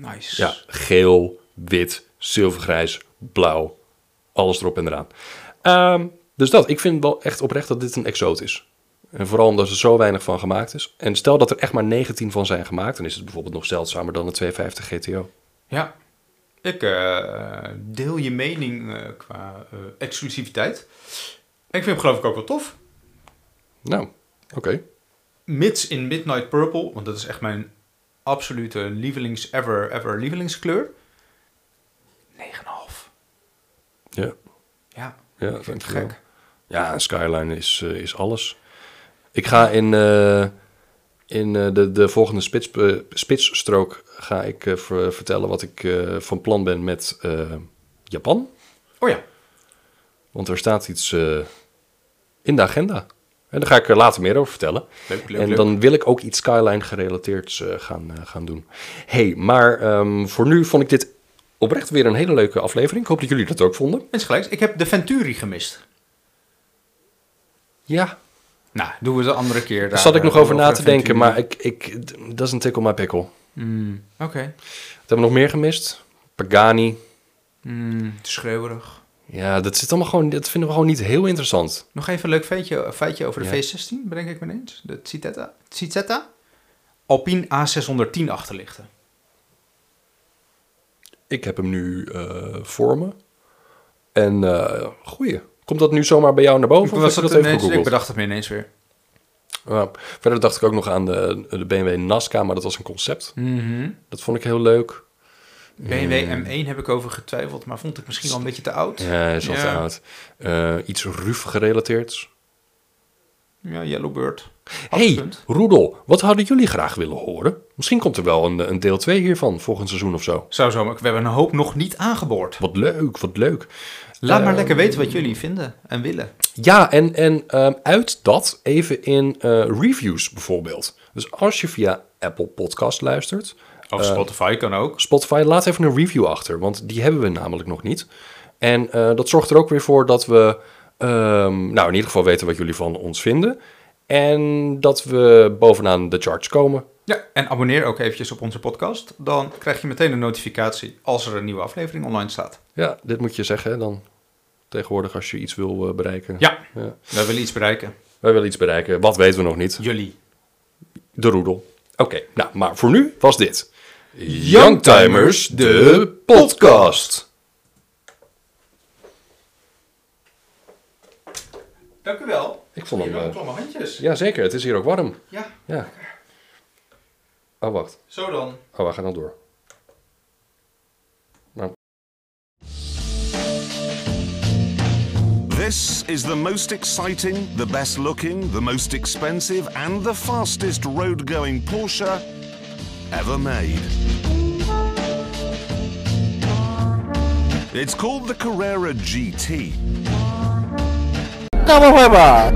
[SPEAKER 4] Nice.
[SPEAKER 1] Ja, geel, wit, zilvergrijs, blauw. Alles erop en eraan. Ehm, dus dat, ik vind wel echt oprecht dat dit een exoot is. En vooral omdat er zo weinig van gemaakt is. En stel dat er echt maar 19 van zijn gemaakt, dan is het bijvoorbeeld nog zeldzamer dan een 250 GTO.
[SPEAKER 4] Ja. Ik eh, deel je mening eh, qua eh, exclusiviteit. Ik vind hem geloof ik ook wel tof.
[SPEAKER 1] Nou, oké.
[SPEAKER 4] Mits in Midnight Purple, want dat is echt mijn absolute lievelings ever, ever lievelingskleur. 9,5.
[SPEAKER 1] Ja,
[SPEAKER 4] Ja,
[SPEAKER 1] ja
[SPEAKER 4] ik vind het
[SPEAKER 1] dankjewel.
[SPEAKER 4] gek.
[SPEAKER 1] Ja, een Skyline is, eh, is alles. Ik ga in, eh, in eh, de, de volgende spits, eh, spitsstrook ga ik, eh, ver- vertellen wat ik eh, van plan ben met eh, Japan.
[SPEAKER 4] Oh ja,
[SPEAKER 1] Want er staat iets eh, in de agenda. En daar ga ik er later meer over vertellen.
[SPEAKER 4] Leuk, leuk,
[SPEAKER 1] en
[SPEAKER 4] leuk.
[SPEAKER 1] dan wil ik ook iets Skyline gerelateerd eh, gaan, eh, gaan doen. hey, maar ehm, voor nu vond ik dit oprecht weer een hele leuke aflevering. Ik hoop dat jullie dat ook vonden.
[SPEAKER 4] mensen gelijk. Ik heb de Venturi gemist.
[SPEAKER 1] Ja,
[SPEAKER 4] Nou, doen we de andere keer.
[SPEAKER 1] daar
[SPEAKER 4] daar,
[SPEAKER 1] zat ik
[SPEAKER 4] eh,
[SPEAKER 1] nog over na te
[SPEAKER 4] Venturi.
[SPEAKER 1] denken. Maar ik, ik, d- dat is een tickle my pickle.
[SPEAKER 4] Mm, Oké.
[SPEAKER 1] Wat hebben we nog meer gemist? Pagani.
[SPEAKER 4] Mm, te schreeuwerig.
[SPEAKER 1] Ja, dat, zit allemaal gewoon, dat vinden we gewoon niet heel interessant.
[SPEAKER 4] Nog even een leuk feitje, feitje over de
[SPEAKER 1] Ja.
[SPEAKER 4] V16, bedenk ik me ineens. De Citetta. Citetta. Alpine A610 achterlichten.
[SPEAKER 1] Ik heb hem nu eh, voor me. En eh goeie. Komt dat nu zomaar bij jou naar boven? Of was dat, even
[SPEAKER 4] ineens, ik
[SPEAKER 1] gegoogeld?
[SPEAKER 4] bedacht het me ineens weer.
[SPEAKER 1] Ja. verder dacht ik ook nog aan de, de BMW Nazca, maar dat was een concept.
[SPEAKER 4] Hm.
[SPEAKER 1] Dat vond ik heel leuk.
[SPEAKER 4] BMW M1 heb ik over getwijfeld, maar vond ik misschien al een beetje te oud.
[SPEAKER 1] Hmm. Ja, is al te
[SPEAKER 4] Ja.
[SPEAKER 1] oud. Eh, iets RUF gerelateerd.
[SPEAKER 4] Ja, Yellowbird.
[SPEAKER 1] hey,
[SPEAKER 4] Afpunt.
[SPEAKER 1] Roedel, wat hadden jullie graag willen horen? Misschien komt er wel een, een deel 2 hiervan volgend seizoen of zo.
[SPEAKER 4] Zou zo, maar we hebben een hoop nog niet aangeboord.
[SPEAKER 1] Wat leuk, wat leuk. Eh,
[SPEAKER 4] Laat maar lekker weten wat jullie vinden en willen.
[SPEAKER 1] Ja, en, en ehm, uit dat even in eh, reviews bijvoorbeeld. Dus als je via Apple Podcast luistert,
[SPEAKER 4] Of Spotify kan ook.
[SPEAKER 1] Spotify, laat even een review achter, want die hebben we namelijk nog niet. En eh, dat zorgt er ook weer voor dat we, ehm, nou in ieder geval weten wat jullie van ons vinden. En dat we bovenaan de charts komen.
[SPEAKER 4] Ja, en abonneer ook eventjes op onze podcast. Dan krijg je meteen een notificatie als er een nieuwe aflevering online staat.
[SPEAKER 1] Ja, dit moet je zeggen hè, dan tegenwoordig als je iets wil eh, bereiken.
[SPEAKER 4] Ja,
[SPEAKER 1] Ja.
[SPEAKER 4] wij willen iets bereiken.
[SPEAKER 1] Wij willen iets bereiken, wat weten we nog niet.
[SPEAKER 4] Jullie.
[SPEAKER 1] De roedel. Oké, nou, maar voor nu was dit. Youngtimers, de podcast.
[SPEAKER 4] Dank u wel.
[SPEAKER 1] Ik vond hem... eh,
[SPEAKER 4] Klamme handjes.
[SPEAKER 1] Jazeker, het is hier ook warm.
[SPEAKER 4] Ja,
[SPEAKER 1] Ja. Oh, wacht.
[SPEAKER 4] zo dan.
[SPEAKER 1] Oh, we gaan dan door. Nou,
[SPEAKER 7] They This is the most exciting, the best looking, the most expensive, and the fastest road going Porsche ever made. It's called the Carrera GT.